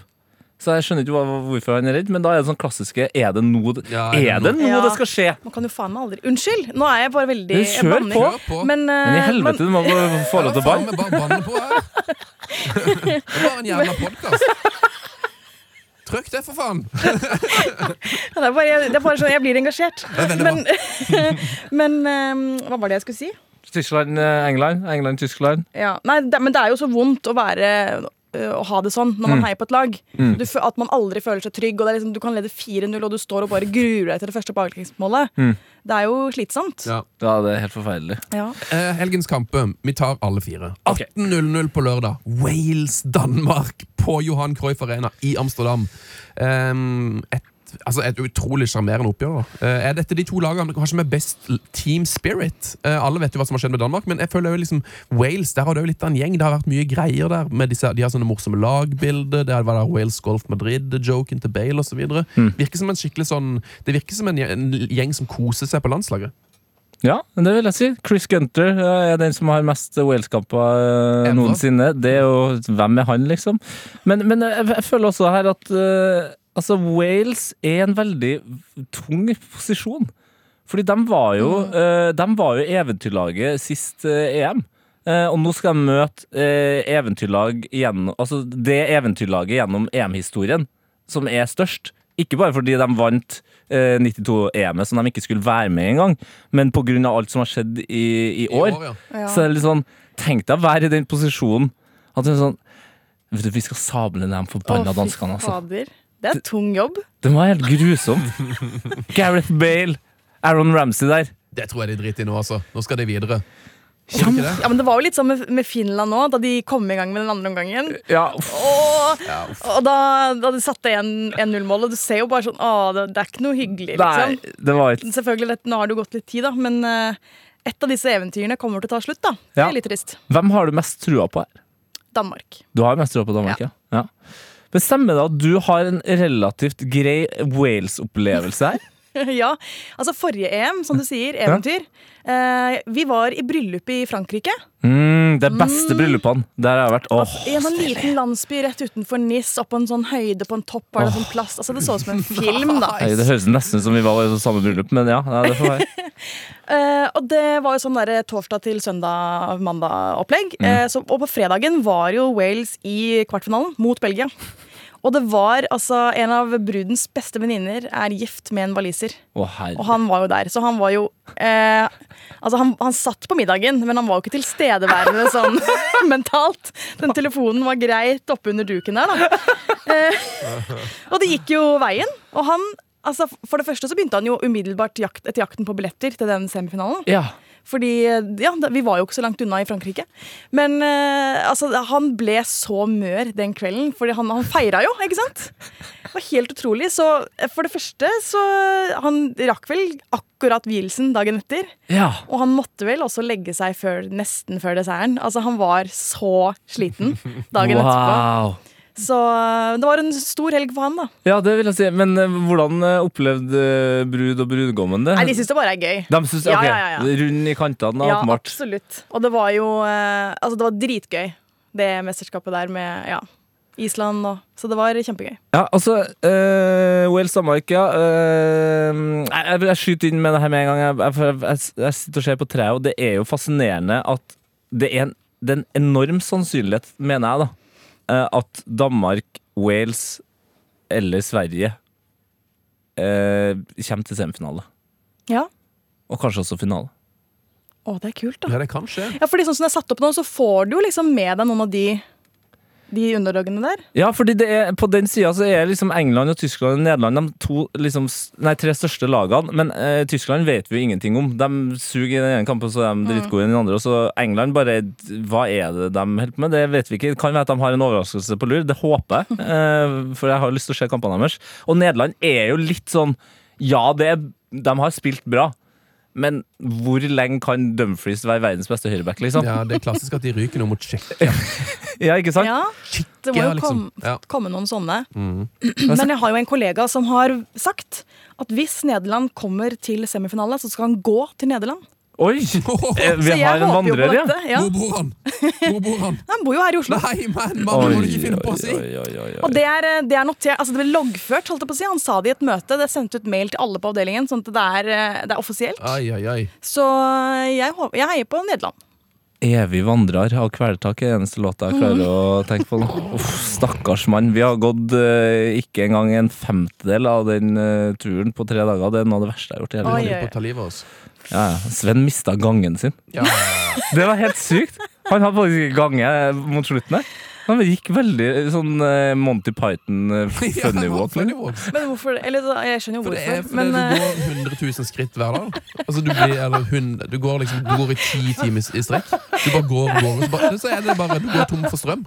Så jeg skjønner ikke hva- hvorfor han er redd, men da er det sånn klassiske Er det nå det, Ja, er det, nå Ja. Eh, det skal skje? Man kan jo faen meg aldri Unnskyld! Nå er jeg bare veldig Men kjør jeg banner. på. Kjør på. Men, eh, Men i helvete, men- du må få- få lov til å Faen, banne. vi bare banner på her. Det var en jævla podkast. Trykk det, for faen. det, er bare, det er bare sånn Jeg blir engasjert. er veldig Men, men eh, hva var det jeg skulle si? Tyskland, eh, England. England, Tyskland. Ja. Nei, det, men det er jo så vondt å være øh, å ha det sånn Mm. når man heier på et lag. Du, fø- at man aldri føler seg trygg. Og det er liksom, du kan lede 4-0, og du står og bare gruer deg til det første baklengsmålet. Mm. Det er jo slitsomt. Ja. Ja, det er helt forferdelig. Ja. Eh, helgens kamper. Vi tar alle fire. Ok. 18.00 på lørdag. Wales-Danmark på Johan Cruyff Arena i Amsterdam. Ehm, et, altså et utrolig sjarmerende oppgjør. da. Eh, er dette de to lagene kanskje med best l- team spirit? Eh, alle vet jo hva som har skjedd med Danmark, men jeg føler jo liksom Wales der har det jo litt av en gjeng. Det har vært mye greier der. Med disse, de har sånne morsomme lagbilder. Det var der Wales Golf Madrid-joken til Bale osv. Virker som en skikkelig sånn Det virker som en gje- en gjeng som koser seg på landslaget. Ja, men det vil jeg si. Chris Gunter eh, er den som har mest Wales-kamper eh, Ennå. noensinne. Det er jo Hvem er han, liksom? Men, men eh, jeg, jeg føler også her at eh, altså Wales er en veldig tung posisjon. Fordi de var jo, eh, de var jo eventyrlaget sist eh, EM. Eh, og nå skal de møte eh, eventyrlag gjennom, altså det eventyrlaget gjennom EM-historien som er størst. Ikke bare fordi de vant eh, 92-EM-et som de ikke skulle være med engang, men pga. alt som har skjedd i, i år. ja. Ja. Så det er litt sånn, tenk deg å være i den posisjonen at du er sånn Vet du, vi skal sable ned de Å, forbanna fy danskene, altså. fader. Det er tung jobb. Det var helt grusomt. Gareth Bale, Aaron Ramsey der. Det tror jeg de driter i nå, altså. Nå skal de videre. Ja, men- Ja, men Det var jo litt sånn med, med Finland nå, da de kom i gang med den andre omgangen. ja, uff. Og, og da, da de satte 1-0-målet, og du ser jo bare sånn Å, det, det er ikke noe hyggelig, Nei, liksom. det var ikke Selvfølgelig, dette, Nå har det jo gått litt tid, da, men eh, et av disse eventyrene kommer til å ta slutt. da. Det Ja. er litt trist. Hvem har du mest trua på her? Danmark. Du har mest trua på Danmark, ja. ja. Men stemmer det at du har en relativt grei Wales-opplevelse her? ja, altså Forrige EM, som du sier, eventyr. Eh, vi var i bryllup i Frankrike. Mm, det beste bryllupene der jeg har vært. Åh, I en sånn liten landsby rett utenfor Nis, oppå en sånn høyde på en topp. Var det, en sånn plass. Altså, det så ut som en film, da. Hei, det høres nesten ut som vi var i samme bryllup, men ja. ja det får være. Eh, og det var jo sånn der torsdag til søndag-mandag-opplegg. Eh, og på fredagen var jo Wales i kvartfinalen mot Belgia. Og det var altså En av brudens beste venninner er gift med en waliser. Å, Og herre. han var jo der, så han var jo eh, Altså, han, han satt på middagen, men han var jo ikke tilstedeværende sånn mentalt. Den telefonen var greit oppunder duken der, da. Eh, og det gikk jo veien. Og han Altså, for det første så begynte han jo umiddelbart jakt, etter jakten på billetter til den semifinalen. Ja. Fordi ja, da- vi var jo ikke så langt unna i Frankrike. Men eh, altså, han ble så mør den kvelden, fordi han, han feira jo, ikke sant? Det var helt utrolig. Så eh, for det første så Han rakk vel akkurat vielsen dagen etter. ja. Og han måtte vel også legge seg før, nesten før desserten. Altså, han var så sliten dagen etterpå. Wow. Så eh, det var en stor helg for han, da. Ja, det vil jeg si. Men eh, hvordan eh, opplevde eh, brud og brudgommen det? Nei, de syns det bare er gøy. De syns, Ja, ok, ja, ja, ja. Rund i kantene, Ja, åpenbart. absolutt. Og det var jo eh, Altså, det var dritgøy, det mesterskapet der med ja, Island og Så det var kjempegøy. Ja, altså, eh, Wales-Danmark, ja. eh, jeg, jeg, jeg skyter inn med det her med en gang. Jeg, jeg, jeg, jeg sitter og ser på treet, og det er jo fascinerende at det er en, det er en enorm sannsynlighet, mener jeg, da, eh, at Danmark, Wales eller Sverige eh, kommer til semifinale. Ja. Og kanskje også finale. Å, det er kult, da. Ja, det kan skje. Ja, fordi sånn som det er satt opp nå, så får du jo liksom med deg noen av de de underdogene der. Ja, fordi det er, på den sida så er liksom England og Tyskland og Nederland de to, liksom, s- nei, tre største lagene. Men eh, Tyskland vet vi jo ingenting om. De suger i den ene kampen, så er de dritgode i den andre. Og så England bare Hva er det de holder på med? Det vet vi ikke. Kan være at de har en overraskelse på lur. Det håper jeg, eh, for jeg har lyst til å se kampene deres. Og Nederland er jo litt sånn Ja, det er, de har spilt bra. Men hvor lenge kan Dumfries være verdens beste høyreback, liksom? Ja, Ja, Det er klassisk at de ryker nå mot Tsjekkia. ikke sant? Ja, Det må Ja, jo liksom. komme, Ja. komme noen sånne. Mm. Men jeg har jo en kollega som har sagt at hvis Nederland kommer til semifinale, så skal han gå til Nederland. Å, Oi! eh, Vi Så jeg har en håper jo på vandrer, ja. dette, ja. Hvor bor han? Hvor bor han? Han bor jo her i Oslo. Nei, men mannen må du ikke finne på å si! oi, oi, oi, oi. Og det er, det er notert, altså det ble loggført, holdt jeg på å si. Han sa det i et møte. Det er sendt ut mail til alle på avdelingen, sånn at det er, det er offisielt. Ai, ai, ai. Så eh, jeg, håper, jeg heier på Nederland. Evig vandrer av Kvelertak er eneste låta jeg klarer å tenke på. nå. Uff, stakkars mann. Vi har gått eh, ikke engang en femtedel av den eh, turen på tre dager. Det er noe av det verste jeg har gjort i hele Oi, mitt liv. Holder på å ta livet av oss. Ja, ja. Sven mista gangen sin. Ja, ja, ja. Det var helt sykt. Han hadde faktisk ikke gange eh, mot slutten der. Han gikk veldig sånn eh, Monty Python eh, funny walk. Funny liksom. walk. Men hvorfor det? Eller så- jeg skjønner jo For det er hvorfor. fordi Men du eh, går 100 000 skritt hver dag. Altså du blir, eller hun, du går liksom Du går i ti timer i strekk. Du bare går og går, og så, bare, så er det bare du går tom for strøm.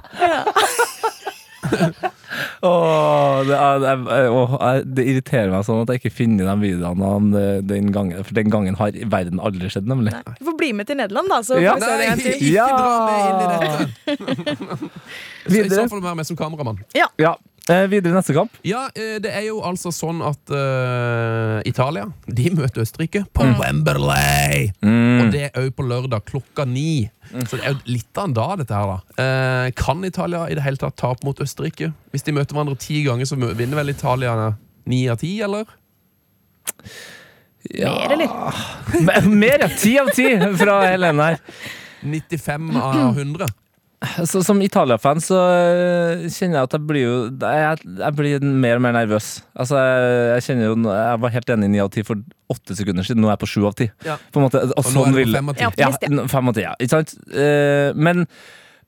Åh, det, er, det, er, åh, jeg- det irriterer meg sånn at jeg ikke finner de videoene av den- eh, den gangen. For den gangen har i verden aldri skjedd, nemlig. du får bli med til Nederland, da. Så Ja. får vi se det en ikke til. Ja. dra meg inn i dette! Så I så Videre. fall må jeg være med som kameramann. Ja. Eh, videre neste kamp. Ja, eh, det er jo altså sånn at eh, Italia de møter Østerrike på Wembley. Og det er òg på lørdag klokka ni. Så det er jo litt av en dag, dette her. da Eh, Kan Italia i det hele tatt tape mot Østerrike? Hvis de møter hverandre ti ganger, så mø- vinner vel Italia ni av ti, eller? Mer, eller? Mer, ja. Ti av ti fra Helene her. 95 av 100. Så, som Italia-fan så øh, kjenner jeg at jeg blir jo Jeg, jeg blir mer og mer nervøs. Altså, jeg, jeg kjenner jo Jeg var helt enig i ni av ti for åtte sekunder siden. Nå er jeg på sju av ti. Ja. På en måte, og Og nå er sånn det vil- på fem av ti. Ja. ja, Optimist, ja. n- fem av ti, ja. Ikke sant? Eh, men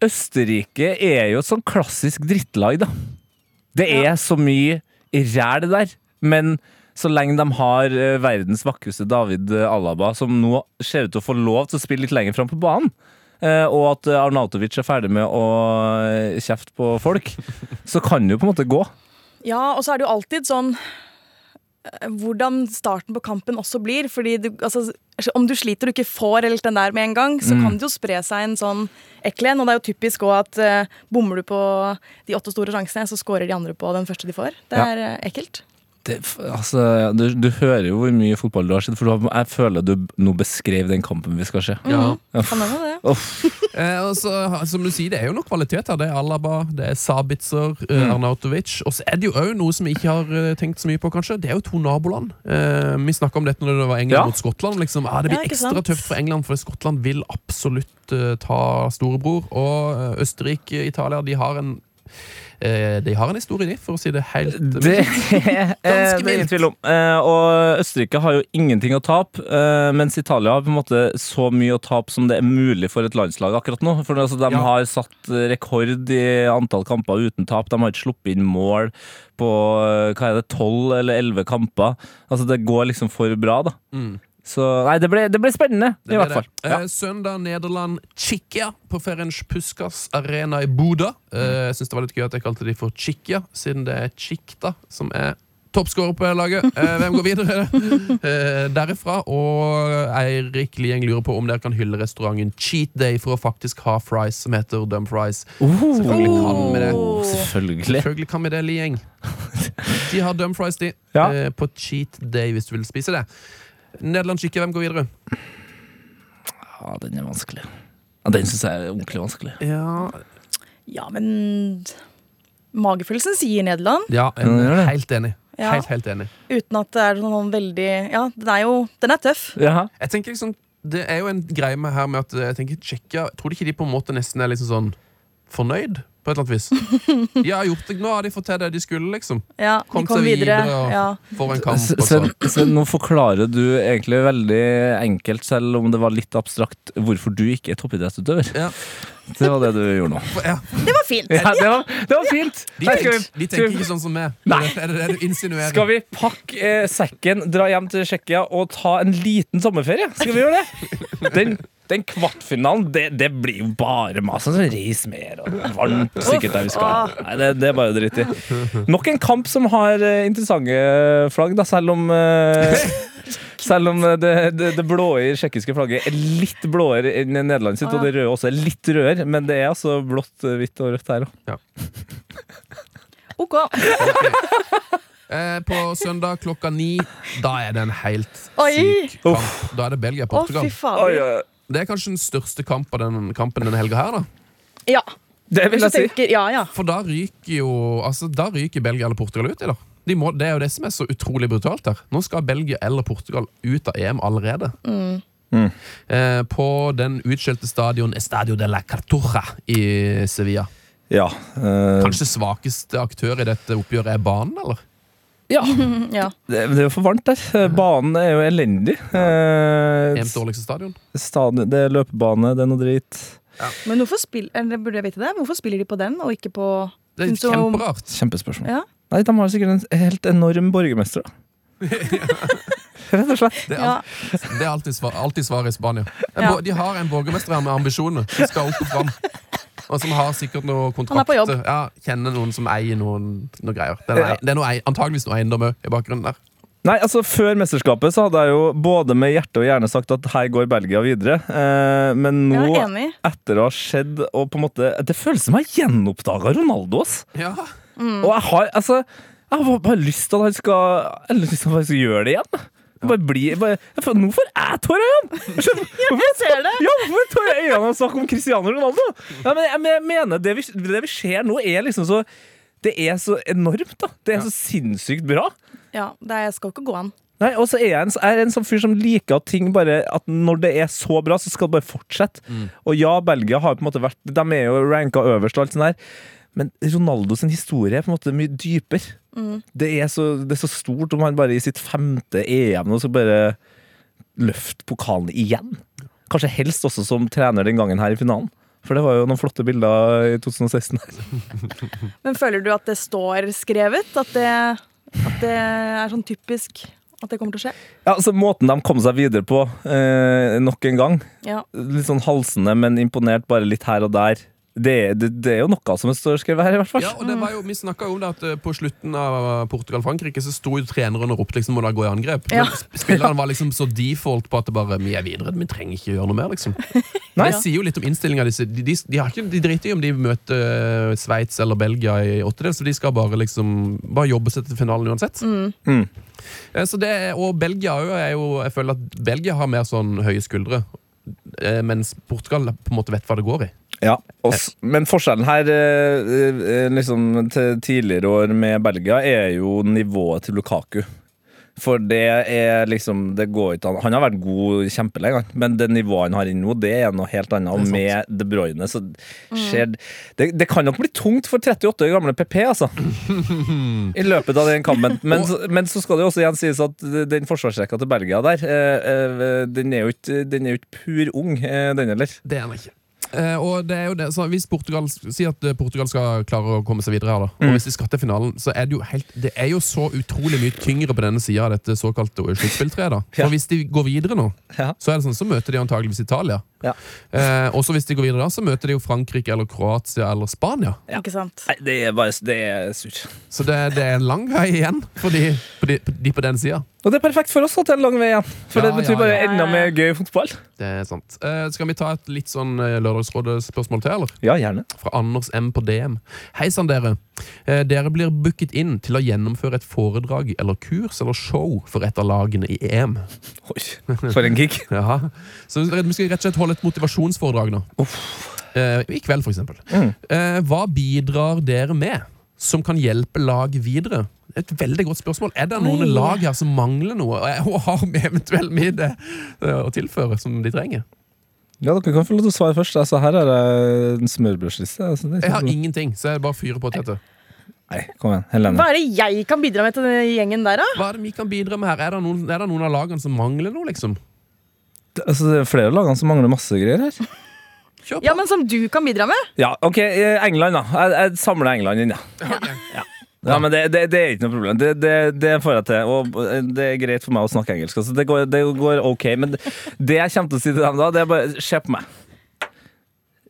Østerrike er jo et sånn klassisk drittlag, da. Det er så mye ræl der, men så lenge de har eh, verdens vakreste David eh, Alaba, som nå ser ut til å få lov til å spille litt lenger fram på banen, eh, og at eh, Arnautovic er ferdig med å eh, kjefte på folk, så kan det jo på en måte gå. Ja, og så er det jo alltid sånn eh, hvordan starten på kampen også blir. fordi du, altså, Om du sliter og ikke får helt den der med en gang, Mm. så kan det jo spre seg en sånn ekkel en. Og det er jo typisk òg at eh, bommer du på de åtte store sjansene, så scorer de andre på den første de får. Det Ja. er eh, ekkelt. Det, f- altså, du, du hører jo hvor mye fotball du har sett, for du har, jeg føler du nå beskrev den kampen vi skal se. Ja. Kan hende det. Uff. Eh, og så, som du sier, Det er jo noe kvalitet her. Det er Alaba, det er Sabitzer, eh, Mm. Arnautovic. Og så er det jo òg noe som vi ikke har eh, tenkt så mye på, kanskje. Det er jo to naboland. Eh, vi snakka om dette når det var England Ja. mot Skottland. Liksom. Ah, det blir Ja, ikke ekstra sant? tøft for England, for Skottland vil absolutt eh, ta storebror. Og eh, Østerrike, Italia, de har en eh, De har en historie, de, for å si det helt Det er eh, det er mildt. ingen tvil om. Eh, Og Østerrike har jo ingenting å tape, eh, mens Italia har på en måte så mye å tape som det er mulig for et landslag akkurat nå. For altså, De Ja. har satt eh, rekord i antall kamper uten tap. De har ikke sluppet inn mål på eh, hva er det, tolv eller elleve kamper. Altså Det går liksom for bra, da. Så nei, det ble, det ble spennende, i hvert fall. Eh, Ja. Søndag Nederland Tsjekkia på Ferenc Puskas Arena i Bodø. Mm. Eh, jeg synes det var litt gøy at jeg kalte de for Tsjekkia, siden det er Tsjikta som er toppskårer på laget. Eh, hvem går videre eh, derifra? Og Eirik Lieng lurer på om dere kan hylle restauranten Cheat Day for å faktisk ha fries som heter Dumb Fries. Eh, Oh. Selvfølgelig kan vi det. Å, Oh. Selvfølgelig. Selvfølgelig kan vi det, Lieng. De har Dumb Fries, de. Ja. Eh, på Cheat Day, hvis du vil spise det. Nederland Tsjekkia, hvem går videre? Ja, den er vanskelig. Ja, den syns jeg er ordentlig vanskelig. Ja, Ja, men Magefølelsen sier Nederland, Ja, jeg den gjør er det. helt enig. Ja. Helt, helt enig. uten at det er noen veldig Ja, den er jo Den er tøff. Jaha. Jeg tenker liksom, Det er jo en greie med her med at eh, jeg tenker Tsjekkia Tror du ikke de på en måte nesten er liksom sånn fornøyd? På et eller annet vis. De har gjort det, Nå har de fått til det de skulle, liksom. Ja, de Kom seg videre, og Ja. får en kamp. Og sånn. så. Sven, Sven, nå forklarer du egentlig veldig enkelt, selv om det var litt abstrakt, hvorfor du ikke er toppidrettsutøver. Ja. Det var det du gjorde nå. Ja, Det var fint. Ja, det, var, det var fint! de, Nei, skal tenker, vi- de skal vi- tenker ikke sånn som meg. Nei. Er det det du insinuerer? Skal vi pakke eh, sekken, dra hjem til Tsjekkia og ta en liten sommerferie? Skal vi gjøre det? Den, den kvartfinalen, det, det blir jo bare mas. Altså, reis mer og varmt sikkert der vi skal. Nei, det, det er bare dritt i. Nok en kamp som har eh, interessante flagg, da, selv om eh, Selv om eh, det, det, det blå i tsjekkiske flagget er litt blåere enn Nederland sitt, og det røde også er litt rødere, men det er altså blått, hvitt og rødt her òg. Ok. Eh, på søndag klokka ni. Da er det en helt Oi. syk kamp. Da er det Å, fy Belgia-Portugal. Oi, fader. oi, oi. Det er kanskje den største kamp av den, kampen denne helga her, da. Ja. Det vil Hvis du jeg si. tenker Ja, ja. For da ryker jo altså, Da ryker Belgia eller Portugal ut i dag. De må, det er jo det som er så utrolig brutalt her. Nå skal Belgia eller Portugal ut av EM allerede. Eh, på den utskjelte stadion Estadio de la Cartuja i Sevilla. Ja. eh, Kanskje svakeste aktør i dette oppgjøret er banen, eller? ja. det, det er jo for varmt der. Eh, Banen er jo elendig. Eh, EMs dårligste stadion? stadion- det er løpebane, det er noe dritt. Men hvorfor spiller eller burde jeg vite det? Hvorfor spiller de på den, og ikke på Det er Synes du om- kjemperart. Kjempespørsmål. Ja. Nei, de har sikkert en helt enorm borgermester, da. Rett og slett. Det er, Ja. alt, det er alltid, svar, alltid svaret i Spania. En Ja. bo- De har en borgermester her med ambisjoner. Som skal opp og fram. Og som har sikkert noe kontrakter. Han er på jobb. Ja, kjenner noen som eier noen, noen greier. Det er, noe Ja. ei- det er noe, ei- antageligvis noe eiendom òg i bakgrunnen der. Nei, altså Før mesterskapet så hadde jeg jo både med hjerte og hjerne sagt at her går Belgia videre. Eh, men nå, Jeg er enig. etter å ha skjedd og på en måte Det føles som jeg gjenoppdaga Ronaldo, ass. Ja. Mm. Og jeg har altså Jeg har bare lyst til at han skal Jeg har lyst til at han skal gjøre det igjen. Bare bli, bare, jeg føler, nå får jeg tårer i øynene! Skjønner- Jeg ser det! Ja, hvorfor tårer jeg i øynene av å snakke om Cristiano Ronaldo? Ja, men jeg, men jeg mener, det vi, det vi ser nå, er liksom så Det er så enormt, da. Det er så sinnssykt bra. Ja, det er- skal jo ikke gå an. Nei, og så er jeg en, er jeg en sånn fyr som liker at ting bare At når det er så bra, så skal det bare fortsette. Og ja, Belgia har på en måte vært De er jo ranka øverst og alt sånt der. Men Ronaldo sin historie er på en måte mye dypere. Det, er så, det er så stort om han bare i sitt femte EM nå skal bare løfte pokalen igjen. Kanskje helst også som trener den gangen her i finalen. For det var jo noen flotte bilder i 2016. her. Men føler du at det står skrevet? At det, at det er sånn typisk at det kommer til å skje? Ja, altså Måten de kom seg videre på eh, nok en gang, Ja. litt sånn halsende, men imponert bare litt her og der. Det, det, det er jo noe som står skrevet her, i hvert fall. ja, og det var jo, Vi snakka om det at eh, på slutten av Portugal-Frankrike så sto jo treneren og ropte liksom, må da gå i angrep. Ja. Men sp- spilleren var liksom så default på at det bare vi er videre. Vi trenger ikke gjøre noe mer, liksom. Nei. Det sier jo litt om innstillinga. De, de, de, har ikke- de driter i om de møter eh, Sveits eller Belgia i åttedel, så de skal bare liksom Bare jobbe seg til finalen uansett. Mm. Eh, Så det, er- og Belgia er jo- er jo Jeg føler at Belgia har mer sånn høye skuldre, eh, mens Portugal på en måte vet hva det går i. Ja, og s- Men forskjellen her eh, eh, liksom til tidligere år med Belgia er jo nivået til Lukaku. For det er liksom det går ikke an. Han har vært god kjempelenge, han. men det nivået han har inne nå, det er noe helt annet. Og med De Bruyne så skjer det, det kan nok bli tungt for 38 år gamle PP, altså. I løpet av den kampen. Men, så- men så skal det jo også igjen sies at den forsvarsrekka til Belgia der, eh, eh, den er jo ikke, den er jo ikke pur ung, eh, den heller. Det er han ikke. Eh, og det er jo det, så Hvis Portugal sier at eh, Portugal skal klare å komme seg videre, her da Mm. og hvis de skal til finalen, så er det jo helt Det er jo så utrolig mye tyngre på denne sida av dette såkalte sluttspilltreet. da. For Ja. Hvis de går videre nå, Ja. så er det sånn, så møter de antageligvis Italia. Ja. Eh, og så hvis de går videre da, så møter de jo Frankrike eller Kroatia eller Spania. Ikke sant? Nei, det er bare det er surt. Så det, det er en lang vei igjen for de på, de, de på den sida. Og det er perfekt for oss at det er en lang vei igjen. For Ja, det betyr ja, bare ja. enda mer gøy fotball. Det er sant. Eh, skal vi ta et litt sånn eh, Lørdagsrådet-spørsmål til, eller? Ja, gjerne. fra Anders M på DM. Hei sann, dere. Eh, Dere blir booket inn til å gjennomføre et foredrag eller kurs eller show for et av lagene i EM. Oi, for en gig. Jaha. Så vi skal rett og slett holde et motivasjonsforedrag nå. Eh, I kveld, for eksempel. Eh, hva bidrar dere med som kan hjelpe lag videre? Et veldig godt spørsmål. Er det noen Oi. lag her som mangler noe, og er- og har vi eventuelt med det eh, å tilføre, som de trenger? Ja, Dere kan få lov til å svare først. Altså, her er det en smørbrødsliste. Altså, det er Jeg har ikke noe- ingenting, så jeg bare fyrer på dette. Nei, kom igjen. Helene. Hva er det jeg kan bidra med til den gjengen der, da? Hva er det vi kan bidra med her? Er det noen, er det noen av lagene som mangler noe, liksom? Altså, det er flere av lagene som mangler masse greier her. Kjør på. Ja, men Som du kan bidra med? Ja, OK, eh, England, da. Jeg, jeg samler England inn, ja. ja. Ja, men det, det, det er ikke noe problem. Det, det, det får jeg til. Og eh, det er greit for meg å snakke engelsk. Altså, det, går, det går OK. Men det- det jeg kommer til å si til dem da, det er bare se på meg.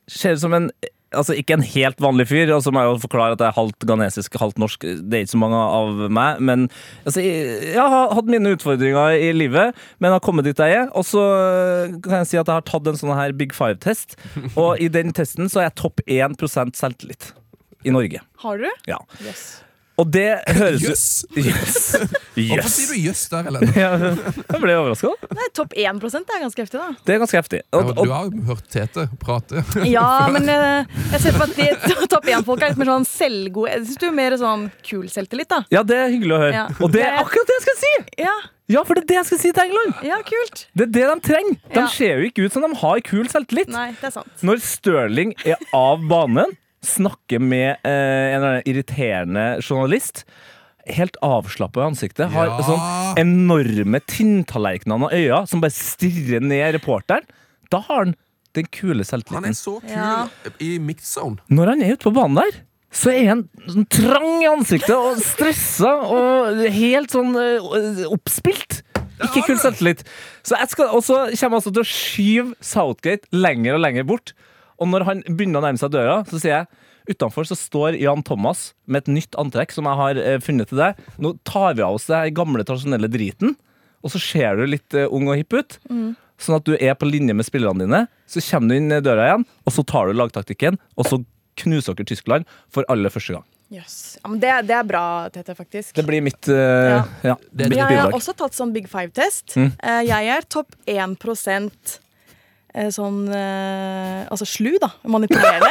Ser ut som en Altså ikke en helt vanlig fyr, og så må jeg jo forklare at jeg er halvt ganesisk, halvt norsk. Det er ikke så mange av meg, men altså, jeg jeg har hatt mine utfordringer i livet, men har kommet dit jeg er. Og så øh, kan jeg si at jeg har tatt en sånn her Big Five-test, og i den testen så er jeg topp 1 selvtillit i Norge. Har du? Ja. Yes. Og det høres ut Jøss! Yes. Hvorfor yes. sier du jøss der, Helene? Ja, jeg ble overraska. Nei, Topp 1 det er ganske heftig, da. Det er ganske heftig. Og, Du og, har jo hørt Tete prate. Ja, men eh, jeg ser for meg at de topp 1-folk er litt mer sånn selvgode. Jeg synes du er mer sånn kul selvtillit, da. ja, det er hyggelig å høre. Ja. Og det er akkurat det jeg skal si! Ja, Ja, for det er det jeg skal si til England! ja kult. Det er det de trenger. De Ja. ser jo ikke ut som de har kul selvtillit. Nei, det er sant. Når Stirling er av banen, snakker med eh, en eller annen irriterende journalist Helt avslappa i ansiktet. Har Ja. sånn enorme tinntallerkener av øyne som bare stirrer ned reporteren. Da har han den kule Han er selvtilliten. så kul Ja. i mixed zone. Når han er ute på banen der, så er han sånn trang i ansiktet og stressa og helt sånn eh, oppspilt. Ikke har kul du det. selvtillit. Så jeg skal, og så kommer jeg altså til å skyve Southgate lenger og lenger bort. Og når han begynner å nærme seg døra, så sier jeg utenfor så står Jan Thomas med et nytt antrekk som jeg har eh, funnet til deg. Nå tar vi av oss den gamle, tradisjonelle driten, og så ser du litt eh, ung og hipp ut. Sånn at du er på linje med spillerne dine. Så kommer du inn i døra igjen, og så tar du lagtaktikken, og så knuser dere Tyskland for aller første gang. Jøss. Ja, men det, det er bra, Tete, faktisk. Det blir mitt, eh, ja. Det er mitt det. Jeg har bidrag. også tatt sånn Big Five-test. Mm. Eh, Jeg er topp 1 eh, sånn eh, Altså slu, da. Manipulerende.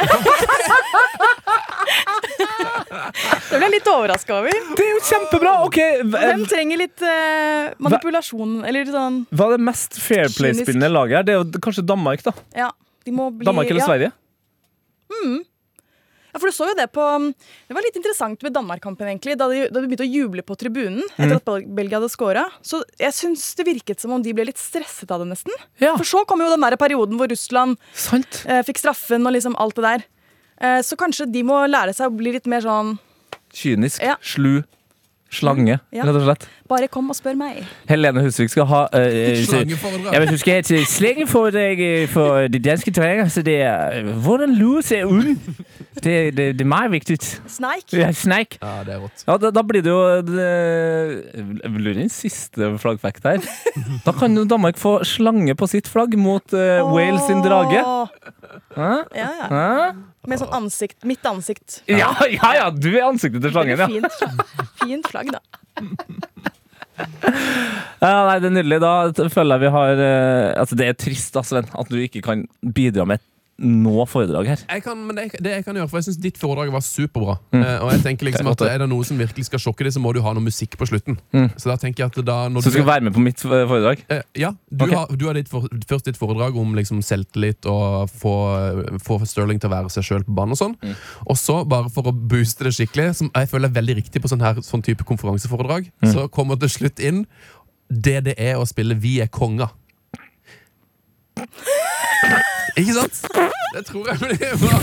det ble jeg litt overraska over. Det er jo kjempebra! Ok, Hvem v- trenger litt eh, manipulasjon, eller sånn Hva er det mest fair play-spillende laget her? Det er jo kanskje Danmark, da. Ja, de må bli Danmark eller ja. Sverige? Ja, for du så jo Det på um, Det var litt interessant med Danmark-kampen, egentlig. Da de, da de begynte å juble på tribunen Mm. etter at Bel- Belgia hadde scora. Så jeg syns det virket som om de ble litt stresset av det, nesten. Ja, For så kom jo den der perioden hvor Russland sant. eh, fikk straffen og liksom alt det der. Eh, så kanskje de må lære seg å bli litt mer sånn Kynisk, Ja. slu, slange, Ja. rett og slett. Bare kom og spør meg. Helene Husvik skal ha eh, eh, Slangeforedrag. Jeg vil huske helt eh, slengeforedrag eh, for de danske trenger, så det er eh, hvordan lue ser ut. Det, det, det er meget viktig. Sneik. Ja, sneik. Ja, det er rått. Ja, da, da blir det jo det, Jeg lurer inn siste flaggfact her. Da kan jo Danmark få slange på sitt flagg mot eh, Wales sin drage. Åh. Hæ? Ja, ja. Hæ? Med sånn ansikt. Mitt ansikt. Ja, ja, ja, du er ansiktet til slangen, ja. Fint, fint flagg, da. Ja, nei, det er nydelig. Da t- føler jeg vi har eh, Altså, det er trist, da, Sven, at du ikke kan bidra med noe foredrag her. Jeg kan, men det, jeg- det jeg kan gjøre, for jeg syns ditt foredrag var superbra. Mm. Eh, og jeg tenker liksom at Er det noe som virkelig skal sjokke deg, så må du ha noe musikk på slutten. Så da tenker jeg at da når Mm. Så du skal være med på mitt eh, foredrag? Eh, ja, du Ok. har, du har ditt for, først ditt foredrag om liksom selvtillit og få, få Sterling til å være seg sjøl på banen. Og sånn Og så, bare for å booste det skikkelig, som jeg føler er veldig riktig på sånn, her, sånn type konferanseforedrag, så kommer til slutt inn det det er å spille Vi er konga. Ikke sant? Det tror jeg blir bra.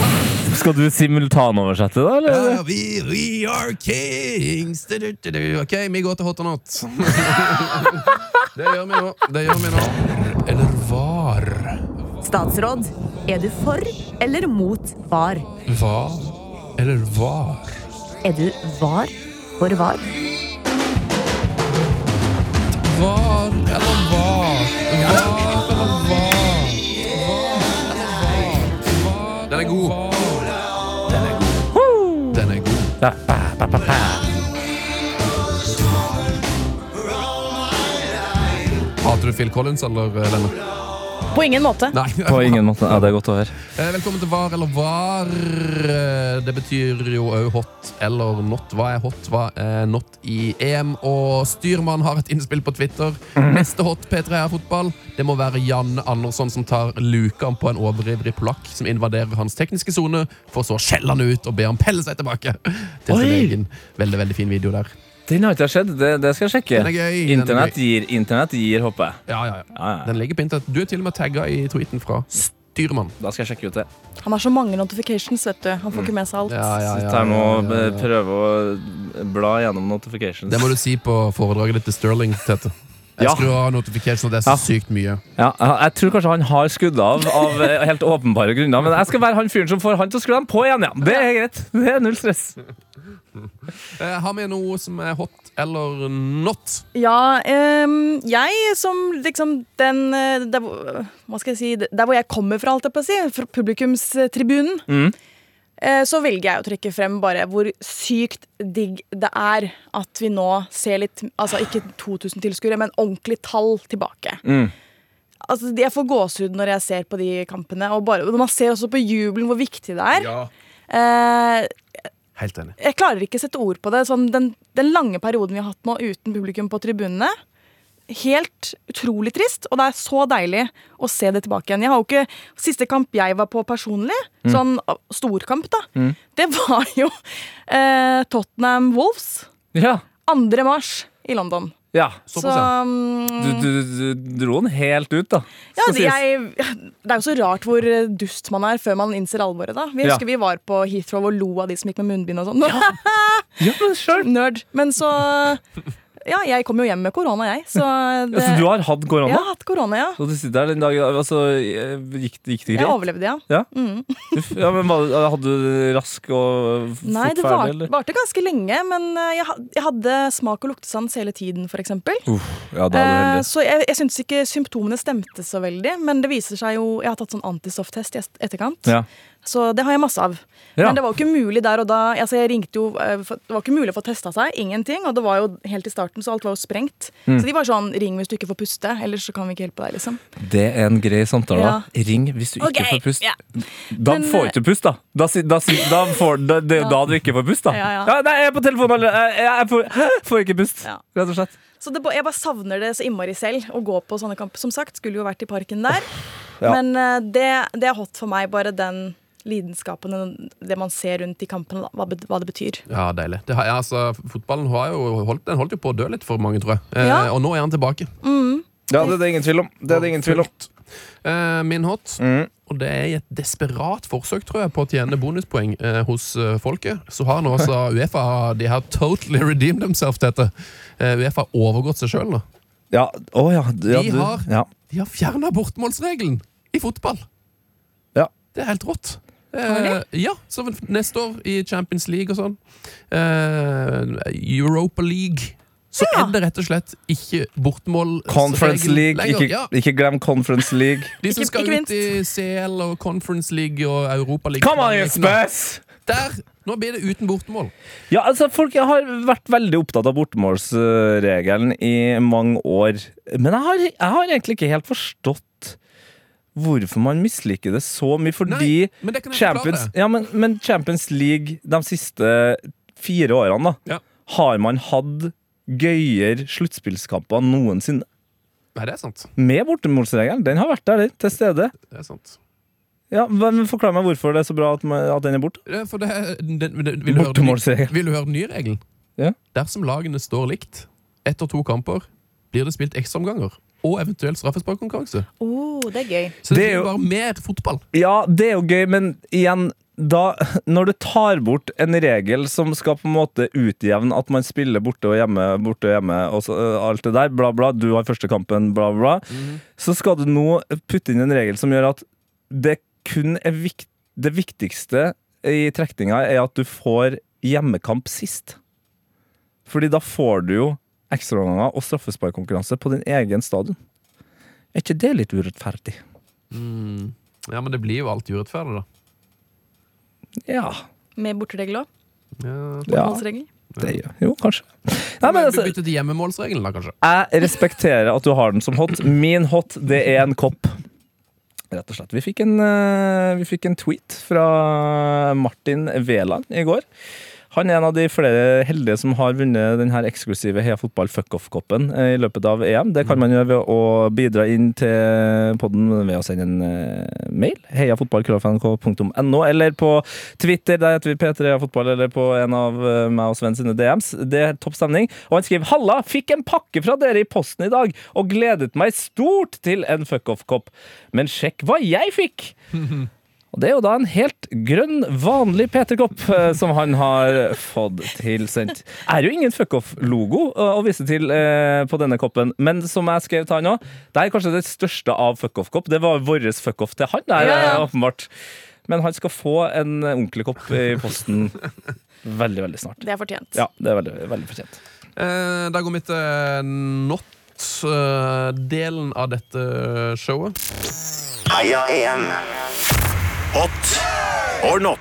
Skal du simultanoversette, da? Eller? Ja, vi, we are kings du, du, du, du. Ok, vi går til hot or not Det gjør vi nå Det gjør vi nå Eller var Statsråd, er du for eller mot var? Var Eller var Er du var for var? Var eller var Var eller var Var eller var Den er god Den er god Den er god Ja. Ba, ba, ba, ba. Hater du Phil Collins eller eh, Lennart? På ingen måte. Nei På ingen måte. Ja, det er godt å høre. Eh, Velkommen til Var eller var. Eh, Det betyr jo òg hot eller not. Hva er hot, hva er not i EM? Og styrmann har et innspill på Twitter. Mhm. Neste hot P3 er fotball. Det må være Janne Andersson som tar luken på en overivrig polakk som invaderer hans tekniske sone, for så å skjelle han ut og be ham pelle seg tilbake. Til sin Oi! egen veldig, veldig fin video der. Den har ikke jeg sett. Det, det skal jeg sjekke. Den er gøy, den er Internett gøy. gir, internett gir, håper jeg. Ja, ja, ja. Ja, ja, ja. Den ligger på internett. Du er til og med tagga i tweeten fra Styrmann. Da skal jeg sjekke ut det. Han har så mange notifications, vet du. Han får ikke med seg alt. Ja, ja, ja, Sitter her nå og ja, ja, ja. prøver å bla gjennom notifications. Det må du si på foredraget ditt til Sterling, Tete. Jeg Ja. skrur av notification, og det er så Ja. sykt mye. Ja, jeg jeg tror kanskje han har skudd av av eh, helt åpenbare grunner, men jeg skal være han fyren som får han til å skru dem på igjen. Ja. Det er greit. Det er null stress. Eh, har vi noe som er hot eller not? Ja, ehm, jeg som liksom den eh, der, hvor- Hva skal jeg si Der hvor jeg kommer fra, alt jeg på å si. Fra publikumstribunen. eh, så velger jeg å trekke frem bare hvor sykt digg det er at vi nå ser litt Altså ikke 2000 tilskuere, men ordentlig tall tilbake. Altså, jeg får gåsehud når jeg ser på de kampene. Og bare, og man ser også på jubelen hvor viktig det er. Eh, Helt enig. jeg klarer ikke å sette ord på det. Sånn, den, den lange perioden vi har hatt nå uten publikum på tribunene. Helt utrolig trist, og det er så deilig å se det tilbake igjen. Jeg har jo ikke, Siste kamp jeg var på personlig, Mm. sånn ah, storkamp, da, det var jo eh, Tottenham Wolves. Ja. 2. mars i London. ja. Så Du, mm, du, du dro den helt ut, da. ja, skal det, sies. jeg, det er jo så rart hvor eh, dust man er før man innser alvoret, da. Vi Ja. husker vi var på Heathrow og lo av de som gikk med munnbind og sånn. Ja, men selv. Nerd. Men så Ja, jeg kom jo hjem med korona, jeg. Så, det, Altså, du har hatt korona? Jeg har hatt korona, ja. Så du sitter her den dagen altså, gikk, gikk det Jeg greit? overlevde, ja. Ja. Uff, ja, men var- Hadde du det rask og f- Nei, fort det var, ferdig, eller? varte ganske lenge, men eh, jeg, ha- jeg hadde smak- og luktesans hele tiden, for eksempel. Ja, da er du Eh, heldig. Så jeg, jeg syns ikke symptomene stemte så veldig, men det viser seg jo Jeg har tatt sånn antistofftest i est- etterkant, Ja. så det har jeg masse av. Ja. Men det var jo ikke mulig der og da. Altså jeg ringte jo, eh, for- Det var ikke mulig å få testa seg. Ingenting. Og det var jo helt i starten, så alt var jo sprengt. Mm. Så de var sånn Ring hvis du ikke får puste, ellers så kan vi ikke hjelpe deg, liksom. Det er en grei samtale. da. Ring hvis du ikke Ok, får pust. ja. Da Men, får du ikke pust, da. da, si- da, si- da får, da det er jo da du ikke får pust, da. Ja, ja. nei, jeg er på telefonen allerede! Jeg, jeg får, hæ? får ikke pust, Ja. rett og slett. Så det, ba- jeg bare savner det så innmari selv å gå på sånne kamper. Som sagt, skulle jo vært i parken der. ja. Men eh, det, det er hot for meg, bare den lidenskapen, den- det man ser rundt i kampene, da, hva, bet- hva det betyr. Ja, deilig. Det har, ja, altså, fotballen har jo holdt, den holdt jo på å dø litt for mange, tror jeg. Eh, Ja. Og nå er han tilbake. Ja, det er det ingen tvil om. Det er det ingen tvil om. Eh, min hot. Mm. Og det er i et desperat forsøk tror jeg, på å tjene bonuspoeng eh, hos eh, folket. Så har nå altså Uefa De har totally redeemed themselves til dette. Eh, Uefa har overgått seg sjøl nå. Ja, å ja, d- ja, De du- har- ja. De har fjerna bortmålsregelen i fotball. Ja. Det er helt rått. Eh, ja, så vel neste år i Champions League og sånn. Eh, Europa League. Så Ja. er det rett og slett ikke bortmålsregel Conference League. lenger. Ikke, Ja, ikke glem Conference League. de som Ikke- skal ikke ut i CL og Conference League og Europa League Come on, you spurs! Der! Nå blir det uten bortmål. Ja, altså Folk har vært veldig opptatt av bortmålsregelen i mange år. Men jeg har, jeg har egentlig ikke helt forstått hvorfor man misliker det så mye. Fordi Nei, men det kan jeg Champions, forklare. ja, men, men Champions League de siste fire årene, da, Ja. har man hatt gøyere sluttspillskamper noensinne. Nei, det er sant. Med bortemålsregelen. Den har vært der, den, til stede. Det er sant. Ja, men Forklar meg hvorfor det er så bra at, man, at den er borte. Det er For det, det, det, vil, du høre den, Bortemålsregel. vil du høre den nye regelen? Ja. Dersom lagene står likt etter to kamper, blir det spilt ekstraomganger og eventuelt straffesparkkonkurranse. Oh, det er gøy. Så det, Det er blir jo- bare mer fotball. Ja, det er jo gøy, men igjen da, Når du tar bort en regel som skal på en måte utjevne at man spiller borte og hjemme, borte og hjemme og så, øh, alt det der, bla, bla, du har første kampen, bla, bla, så skal du nå putte inn en regel som gjør at det kun er vikt, det viktigste i trekninga er at du får hjemmekamp sist. Fordi da får du jo ekstraomganger og straffesparkkonkurranse på din egen stadion. Er ikke det litt urettferdig? Ja, men det blir jo alt urettferdig, da. Ja. Med borteregel òg. ja. Det gjør Jo, kanskje. Nei, men Vi altså, bytter til hjemmemålsregelen, da, kanskje. jeg respekterer at du har den som hot. Min hot, det er en kopp. Rett og slett. Vi fikk en, eh, vi fikk en tweet fra Martin Veland i går. Han er en av de flere heldige som har vunnet den her eksklusive Heia Fotball fuckoff-koppen eh, i løpet av EM. Det kan man gjøre ved å bidra inn til podden ved å sende en eh, mail. heiafotballkrøllfnk.no, eller på Twitter, der heter vi P3 Heia Fotball, eller på en av eh, meg og Sven sine DMs. Det er topp stemning. Og han skriver 'Halla, fikk en pakke fra dere i posten i dag, og gledet meg stort til en fuckoff-kopp. Men sjekk hva jeg fikk!' Og det er jo da en helt grønn, vanlig P3-kopp eh, som han har fått tilsendt. Er jo ingen fuckoff-logo eh, å vise til eh, på denne koppen, men som jeg skrev til han òg, det er kanskje det største av fuckoff-kopp. Det var vår fuckoff til han, der, Ja, ja. eh, åpenbart. Men han skal få en ordentlig kopp i posten veldig, veldig snart. Det er fortjent. Ja, det er veldig, veldig fortjent. Eh, da går vi til not-delen av dette eh, showet. Hot or not?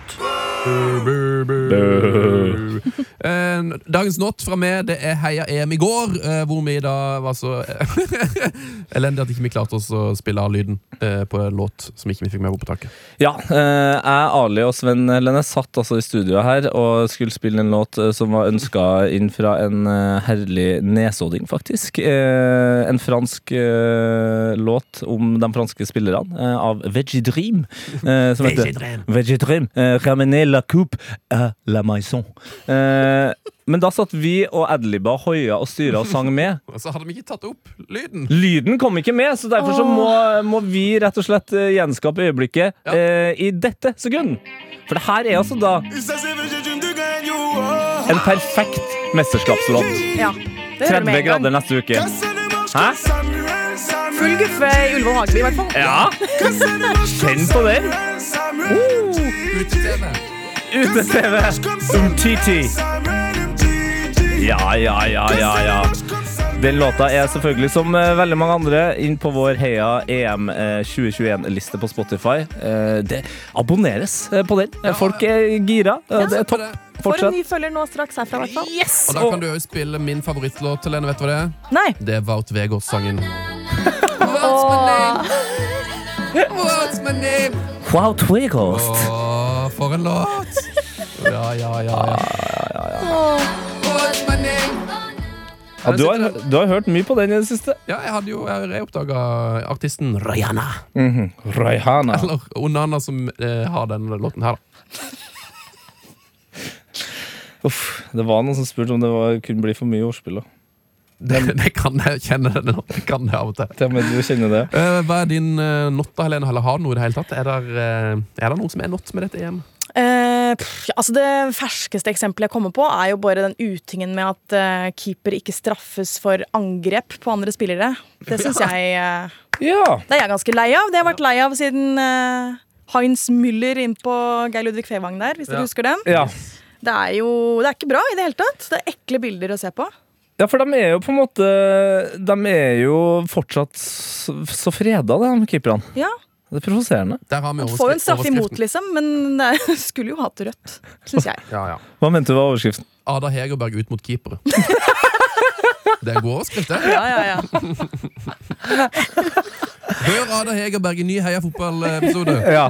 Eh, Dagens not fra meg det er Heia EM i går, eh, hvor vi da var så elendige at ikke vi ikke klarte oss å spille av lyden eh, på en låt som ikke vi fikk med på opptaket. Ja. eh, Jeg, Ali og Sven Lenne satt altså i studio her og skulle spille en låt eh, som var ønska inn fra en eh, herlig nesodding, faktisk. Eh, En fransk eh, låt om de franske spillerne, eh, av Veggie Dream. eh, Som heter Veggie Dream. eh, Ramenez la coupe à la maison. Eh, Men da satt vi og adliba, hoia og styra og sang med. Og så hadde vi ikke tatt opp lyden. Lyden kom ikke med, så derfor så må, må vi rett og slett eh, gjenskape øyeblikket Ja. eh, i dette sekund. For det her er altså da en perfekt mesterskapslåt. Ja, det 30 hører med en gang. grader neste uke. Hæ? Full guffe i Ullevål Hageby, i hvert fall. Ja, kjenn på den. Ute-TV. Umtiti. Ja, ja, ja, ja, ja. Den låta er selvfølgelig, som eh, veldig mange andre, inn på vår Heia E EM 2021-liste på Spotify. Eh, det abonneres eh, på den. Eh, Folk er gira. Eh, det er topp. Får en Fortsett. ny følger nå straks herfra, i hvert fall. Yes! Og da kan du òg spille min favorittlåt til henne. Vet du hva det er? Nei. Det er Wout Vegårs-sangen. What's my name? What's my name? Wow, Twigost. Åh, for en låt! Ja, ja, ja. ja. What's my name? Ja, du, har, du har hørt mye på den i det siste. Ja, jeg hadde jo jeg oppdaga artisten Rihanna. Raihana. Eller Onana, som eh, har denne låten her. da. Uff, det var noen som spurte om det var, kunne bli for mye ordspill. da. Det, det kan jeg kjenne denne låten. Jeg kan det av og til. Til og med du kjenner det. Eh, hva er din uh, not, da, Helene? Eller har du noe i det hele tatt? Er det, er det noe som er not med dette EM? Eh, pff, ja, altså det ferskeste eksempelet jeg kommer på, er jo bare den utingen med at eh, keeper ikke straffes for angrep på andre spillere. Det syns jeg eh, Ja. Det er jeg ganske lei av. Det har jeg vært lei av siden eh, Heinz Müller inn på Geir Ludvig Fevang der, hvis dere Ja. husker den. ja. Det er jo det er ikke bra i det hele tatt. Det er ekle bilder å se på. Ja, for de er jo på en måte De er jo fortsatt så så freda, de keeperne. Ja, Det er provoserende. Der har vi Får jo en straff imot, overskriften. liksom, men det er- skulle jo hatt rødt, syns jeg. Ja, ja. Hva mente du var overskriften? Ada Hegerberg ut mot keepere. Det er en god overskrift, det. Ja, ja, ja. Hør Ada Hegerberg i ny Heia fotball-episode. Ja.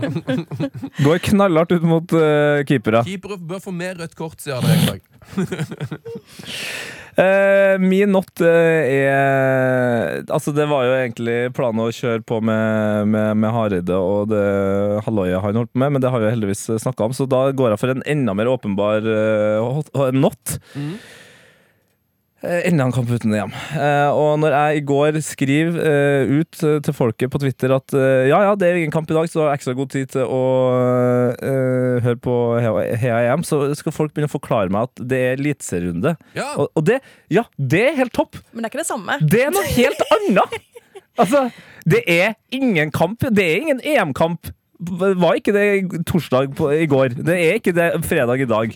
Går knallhardt ut mot eh, keepere. Keepere bør få mer rødt kort, sier Ada Hegerberg. Eh, min not eh, er Altså, det var jo egentlig planen å kjøre på med, med, med Hareide og det halvøyet han holdt på med, men det har vi jo heldigvis snakka om, så da går jeg for en enda mer åpenbar eh, hot- eh, not. Eh, Enda en kamp uten EM. Eh, og når jeg i går skriver eh, ut eh, til folket på Twitter at eh, ja, ja, det er ingen kamp i dag, så har jeg ekstra god tid til å eh, høre på Heia Heia EM, så skal folk begynne å forklare meg at det er eliteserierunde. Ja. Og, og det, ja, det er helt topp. Men det er ikke det samme. Det er noe helt annet. Altså, det er ingen kamp. Det er ingen EM-kamp. Var ikke det torsdag på, i går. Det er ikke det fredag i dag.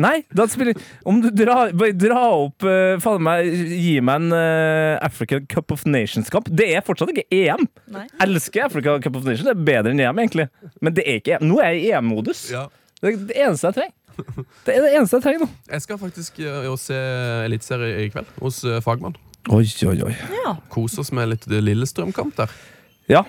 Nei, da spiller Om du drar bare dra opp eh, faen meg, Gi meg en eh, African Cup of Nations-kamp. Det er fortsatt ikke EM. Nei. Elsker Africa Cup of Nations. Det er bedre enn EM, egentlig. Men det er ikke EM. Nå er jeg i EM-modus. Ja. Det er det eneste jeg trenger. Det er det eneste jeg trenger nå. Jeg skal faktisk eh, og se Eliteserie i kveld hos eh, Fagmann. Oi, oi, oi. Ja. Kose oss med litt eh, Lillestrøm-kamp der. Ja.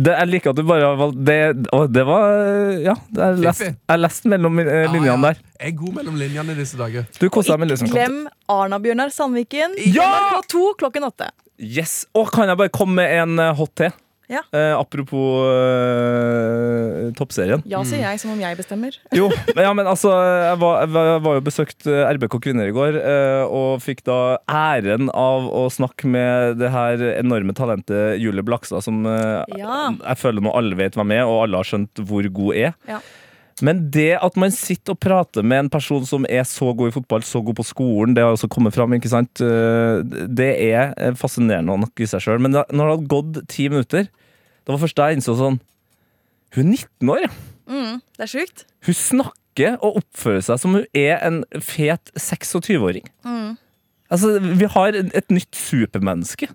Det, jeg liker at du bare har valgt det, og det var Ja, det er lest, Fiffig. jeg leste mellom eh, linjene Ja, ja. der. Jeg er god mellom linjene i disse dager. Du koser deg med Ikke liksom glem Arna-Bjørnar Sandviken. Ja! NRK 2 klokken åtte. Yes! Og kan jeg bare komme med en eh, hot te? Ja. Eh, apropos eh, toppserien. Ja, sier jeg, som om jeg bestemmer. Jo, men- ja, men altså Jeg var, jeg var jeg var jo besøkt eh, RBK Kvinner i går, eh, og fikk da æren av å snakke med det her enorme talentet Julie Blakstad, som eh, Ja. jeg føler nå alle vet hvem er, og alle har skjønt hvor god er. Ja. Men det at man sitter og prater med en person som er så god i fotball, så god på skolen, det har også kommet fram, ikke sant? Eh, Det er eh, fascinerende nok i seg sjøl. Men da, når det hadde gått ti minutter, det var først da jeg innså sånn Hun er 19 år, ja! Det er sjukt. Hun snakker og oppfører seg som hun er en fet 26-åring. Altså, Vi har et nytt supermenneske.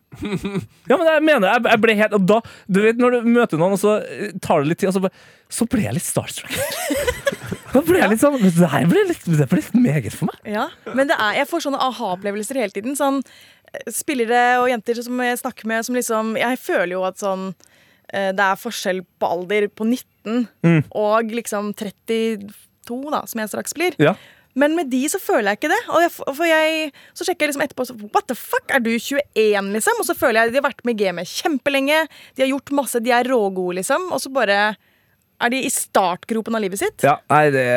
Ja, men jeg mener jeg, jeg ble helt, og da, du vet, Når du møter noen, og så eh, tar det litt tid, og så, bare- så ble jeg litt starstruck. da ble jeg litt sånn, Det her ble litt, det ble litt meget for meg. Ja, men det er, jeg får sånne aha-opplevelser hele tiden. Sånn eh, spillere og jenter som jeg snakker med, som liksom Jeg føler jo at sånn eh, Det er forskjell på alder på 19 og liksom 32, da, som jeg straks blir. Ja. Men med de så føler jeg ikke det. Og jeg, for jeg, så sjekker jeg liksom etterpå så, What the fuck, er du 21, liksom? Og så føler jeg de har vært med i gamet kjempelenge. De har gjort masse, de er rågode, liksom. Og så bare er de i startgropen av livet sitt. Ja, nei, det,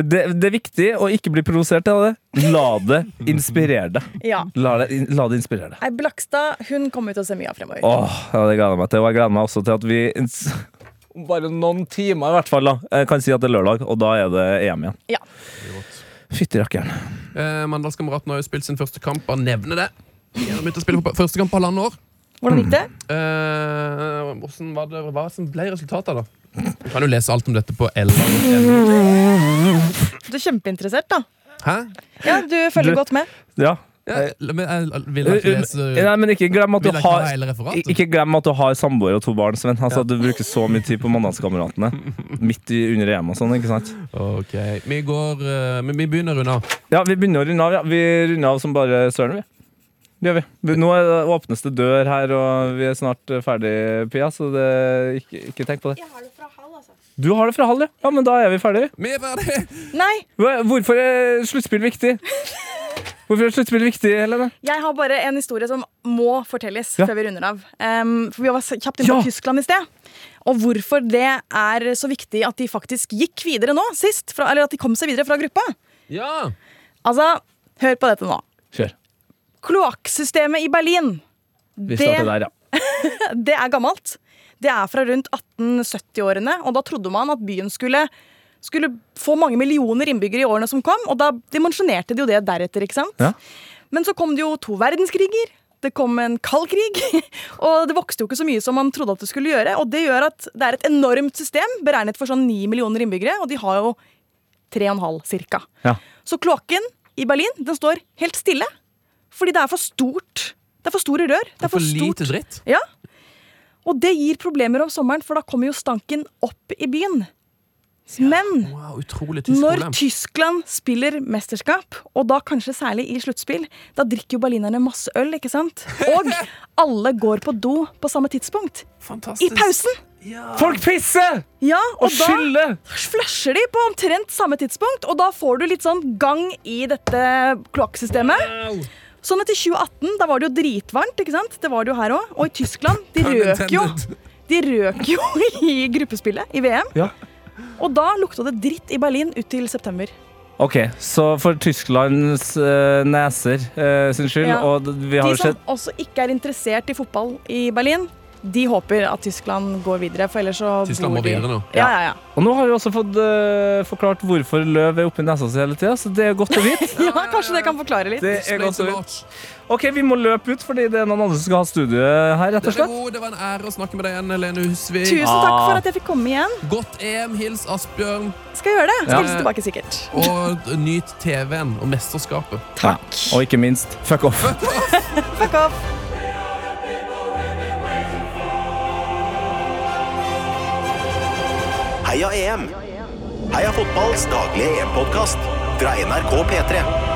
det, det er viktig å ikke bli provosert av det. La det inspirere deg. Ja. La det, in- la det inspirere deg. Ei Blakstad hun kommer vi til å se mye av fremover. Åh, ja, det gleder jeg meg til. Og jeg gleder meg også til at vi om bare noen timer i hvert fall da, eh, kan si at det er lørdag, og da er det EM igjen. Ja. Fytti rakkeren. Eh, Mandalskameraten har jo spilt sin første kamp. Bare nevne det. De har begynt å spille på første kamp på halvannet år. Hvordan gikk det? Eh, hvordan var det, hva som ble resultatet, da? Du kan jo lese alt om dette på L.no. Du er kjempeinteressert, da. Hæ? Ja, Du følger Du- godt med. Ja. Ja, men jeg vil ikke lese Eh, Nei, men ikke glem at du Vil jeg ikke har ha hele referatet? Ikke glem at du har samboer og to barn, Sven. Altså, At du bruker så mye tid på Mandalskameratene midt i, under EM og sånn. ikke sant? Ok, vi går eh, Men vi begynner unna. Ja, vi begynner å runde av. Ja. Vi runder av som bare søren, vi. Det gjør vi. Vi- Nå er det åpnes det dør her, og vi er snart eh, ferdig, Pia, så det, ikke, ikke tenk på det. Du har det fra halv, ja. ja. Men da er vi ferdige. Vi er ferdig! Nei, Hva- Hvorfor er sluttspill viktig? Hvorfor er sluttspill viktig, Helene? jeg har bare en historie som må fortelles Ja. før vi runder av. Em, for Vi var kjapt inne Ja. på Tyskland i sted. Og hvorfor det er så viktig at de faktisk gikk videre nå sist. Fra, eller at de kom seg videre fra gruppa. Ja! Altså, hør på dette nå. Kjør. Kloakksystemet i Berlin, Vi Det- starter der, ja. det er gammelt. Det er fra rundt 1870-årene, og da trodde man at byen skulle skulle få mange millioner innbyggere i årene som kom, og da dimensjonerte de jo det deretter, ikke sant? Ja. Men så kom det jo to verdenskriger. Det kom en kald krig, og det vokste jo ikke så mye som man trodde at det skulle gjøre. Og det gjør at det er et enormt system beregnet for sånn ni millioner innbyggere, og de har jo tre og en halv cirka. Ja. Så kloakken i Berlin den står helt stille, fordi det er for stort. Det er for store rør. Det er For for stort. lite dritt. Ja. Og det gir problemer om sommeren, for da kommer jo stanken opp i byen. Men Wow, utrolig tysk når problem. Tyskland spiller mesterskap, og da kanskje særlig i sluttspill, da drikker jo berlinerne masse øl, ikke sant? Og alle går på do på samme tidspunkt. I Fantastisk. pausen! Folk pisser! Ja, Og og da skyller! flusher de på omtrent samme tidspunkt, og da får du litt sånn gang i dette kloakksystemet. Sånn at i 2018, da var det jo dritvarmt, ikke sant? Det var det jo her òg. Og i Tyskland, de Pun røk jo. intended. De røk jo i gruppespillet i VM. Ja. Og da lukta det dritt i Berlin ut til september. Ok, så for Tysklands eh, neser eh, sin skyld, Ja. og d- vi har De jo som sett også ikke er interessert i fotball i Berlin, de håper at Tyskland går videre, for ellers så Tyskland må bor de videre nå. Ja, ja, ja. Og nå har vi også fått eh, forklart hvorfor løv er oppi nesa si hele tida, så det er godt å vite. ja, Kanskje det kan forklare litt. Det er Explains a godt å vite. lot. Ok, vi må løpe ut, fordi det er noen andre som skal ha studiet her, rett og Det, slett. var- det var en ære å snakke med deg igjen, Lene Husvik. Tusen takk Ah. for at jeg fikk komme igjen. Godt EM. Hils Asbjørn. Skal jeg gjøre det. Skal Ja. hilse tilbake, sikkert. Og nyt TV-en og mesterskapet. Takk. Og ikke minst, fuck off. Fuck off. Heia EM! Heia fotballs daglige EM-podkast fra NRK P3.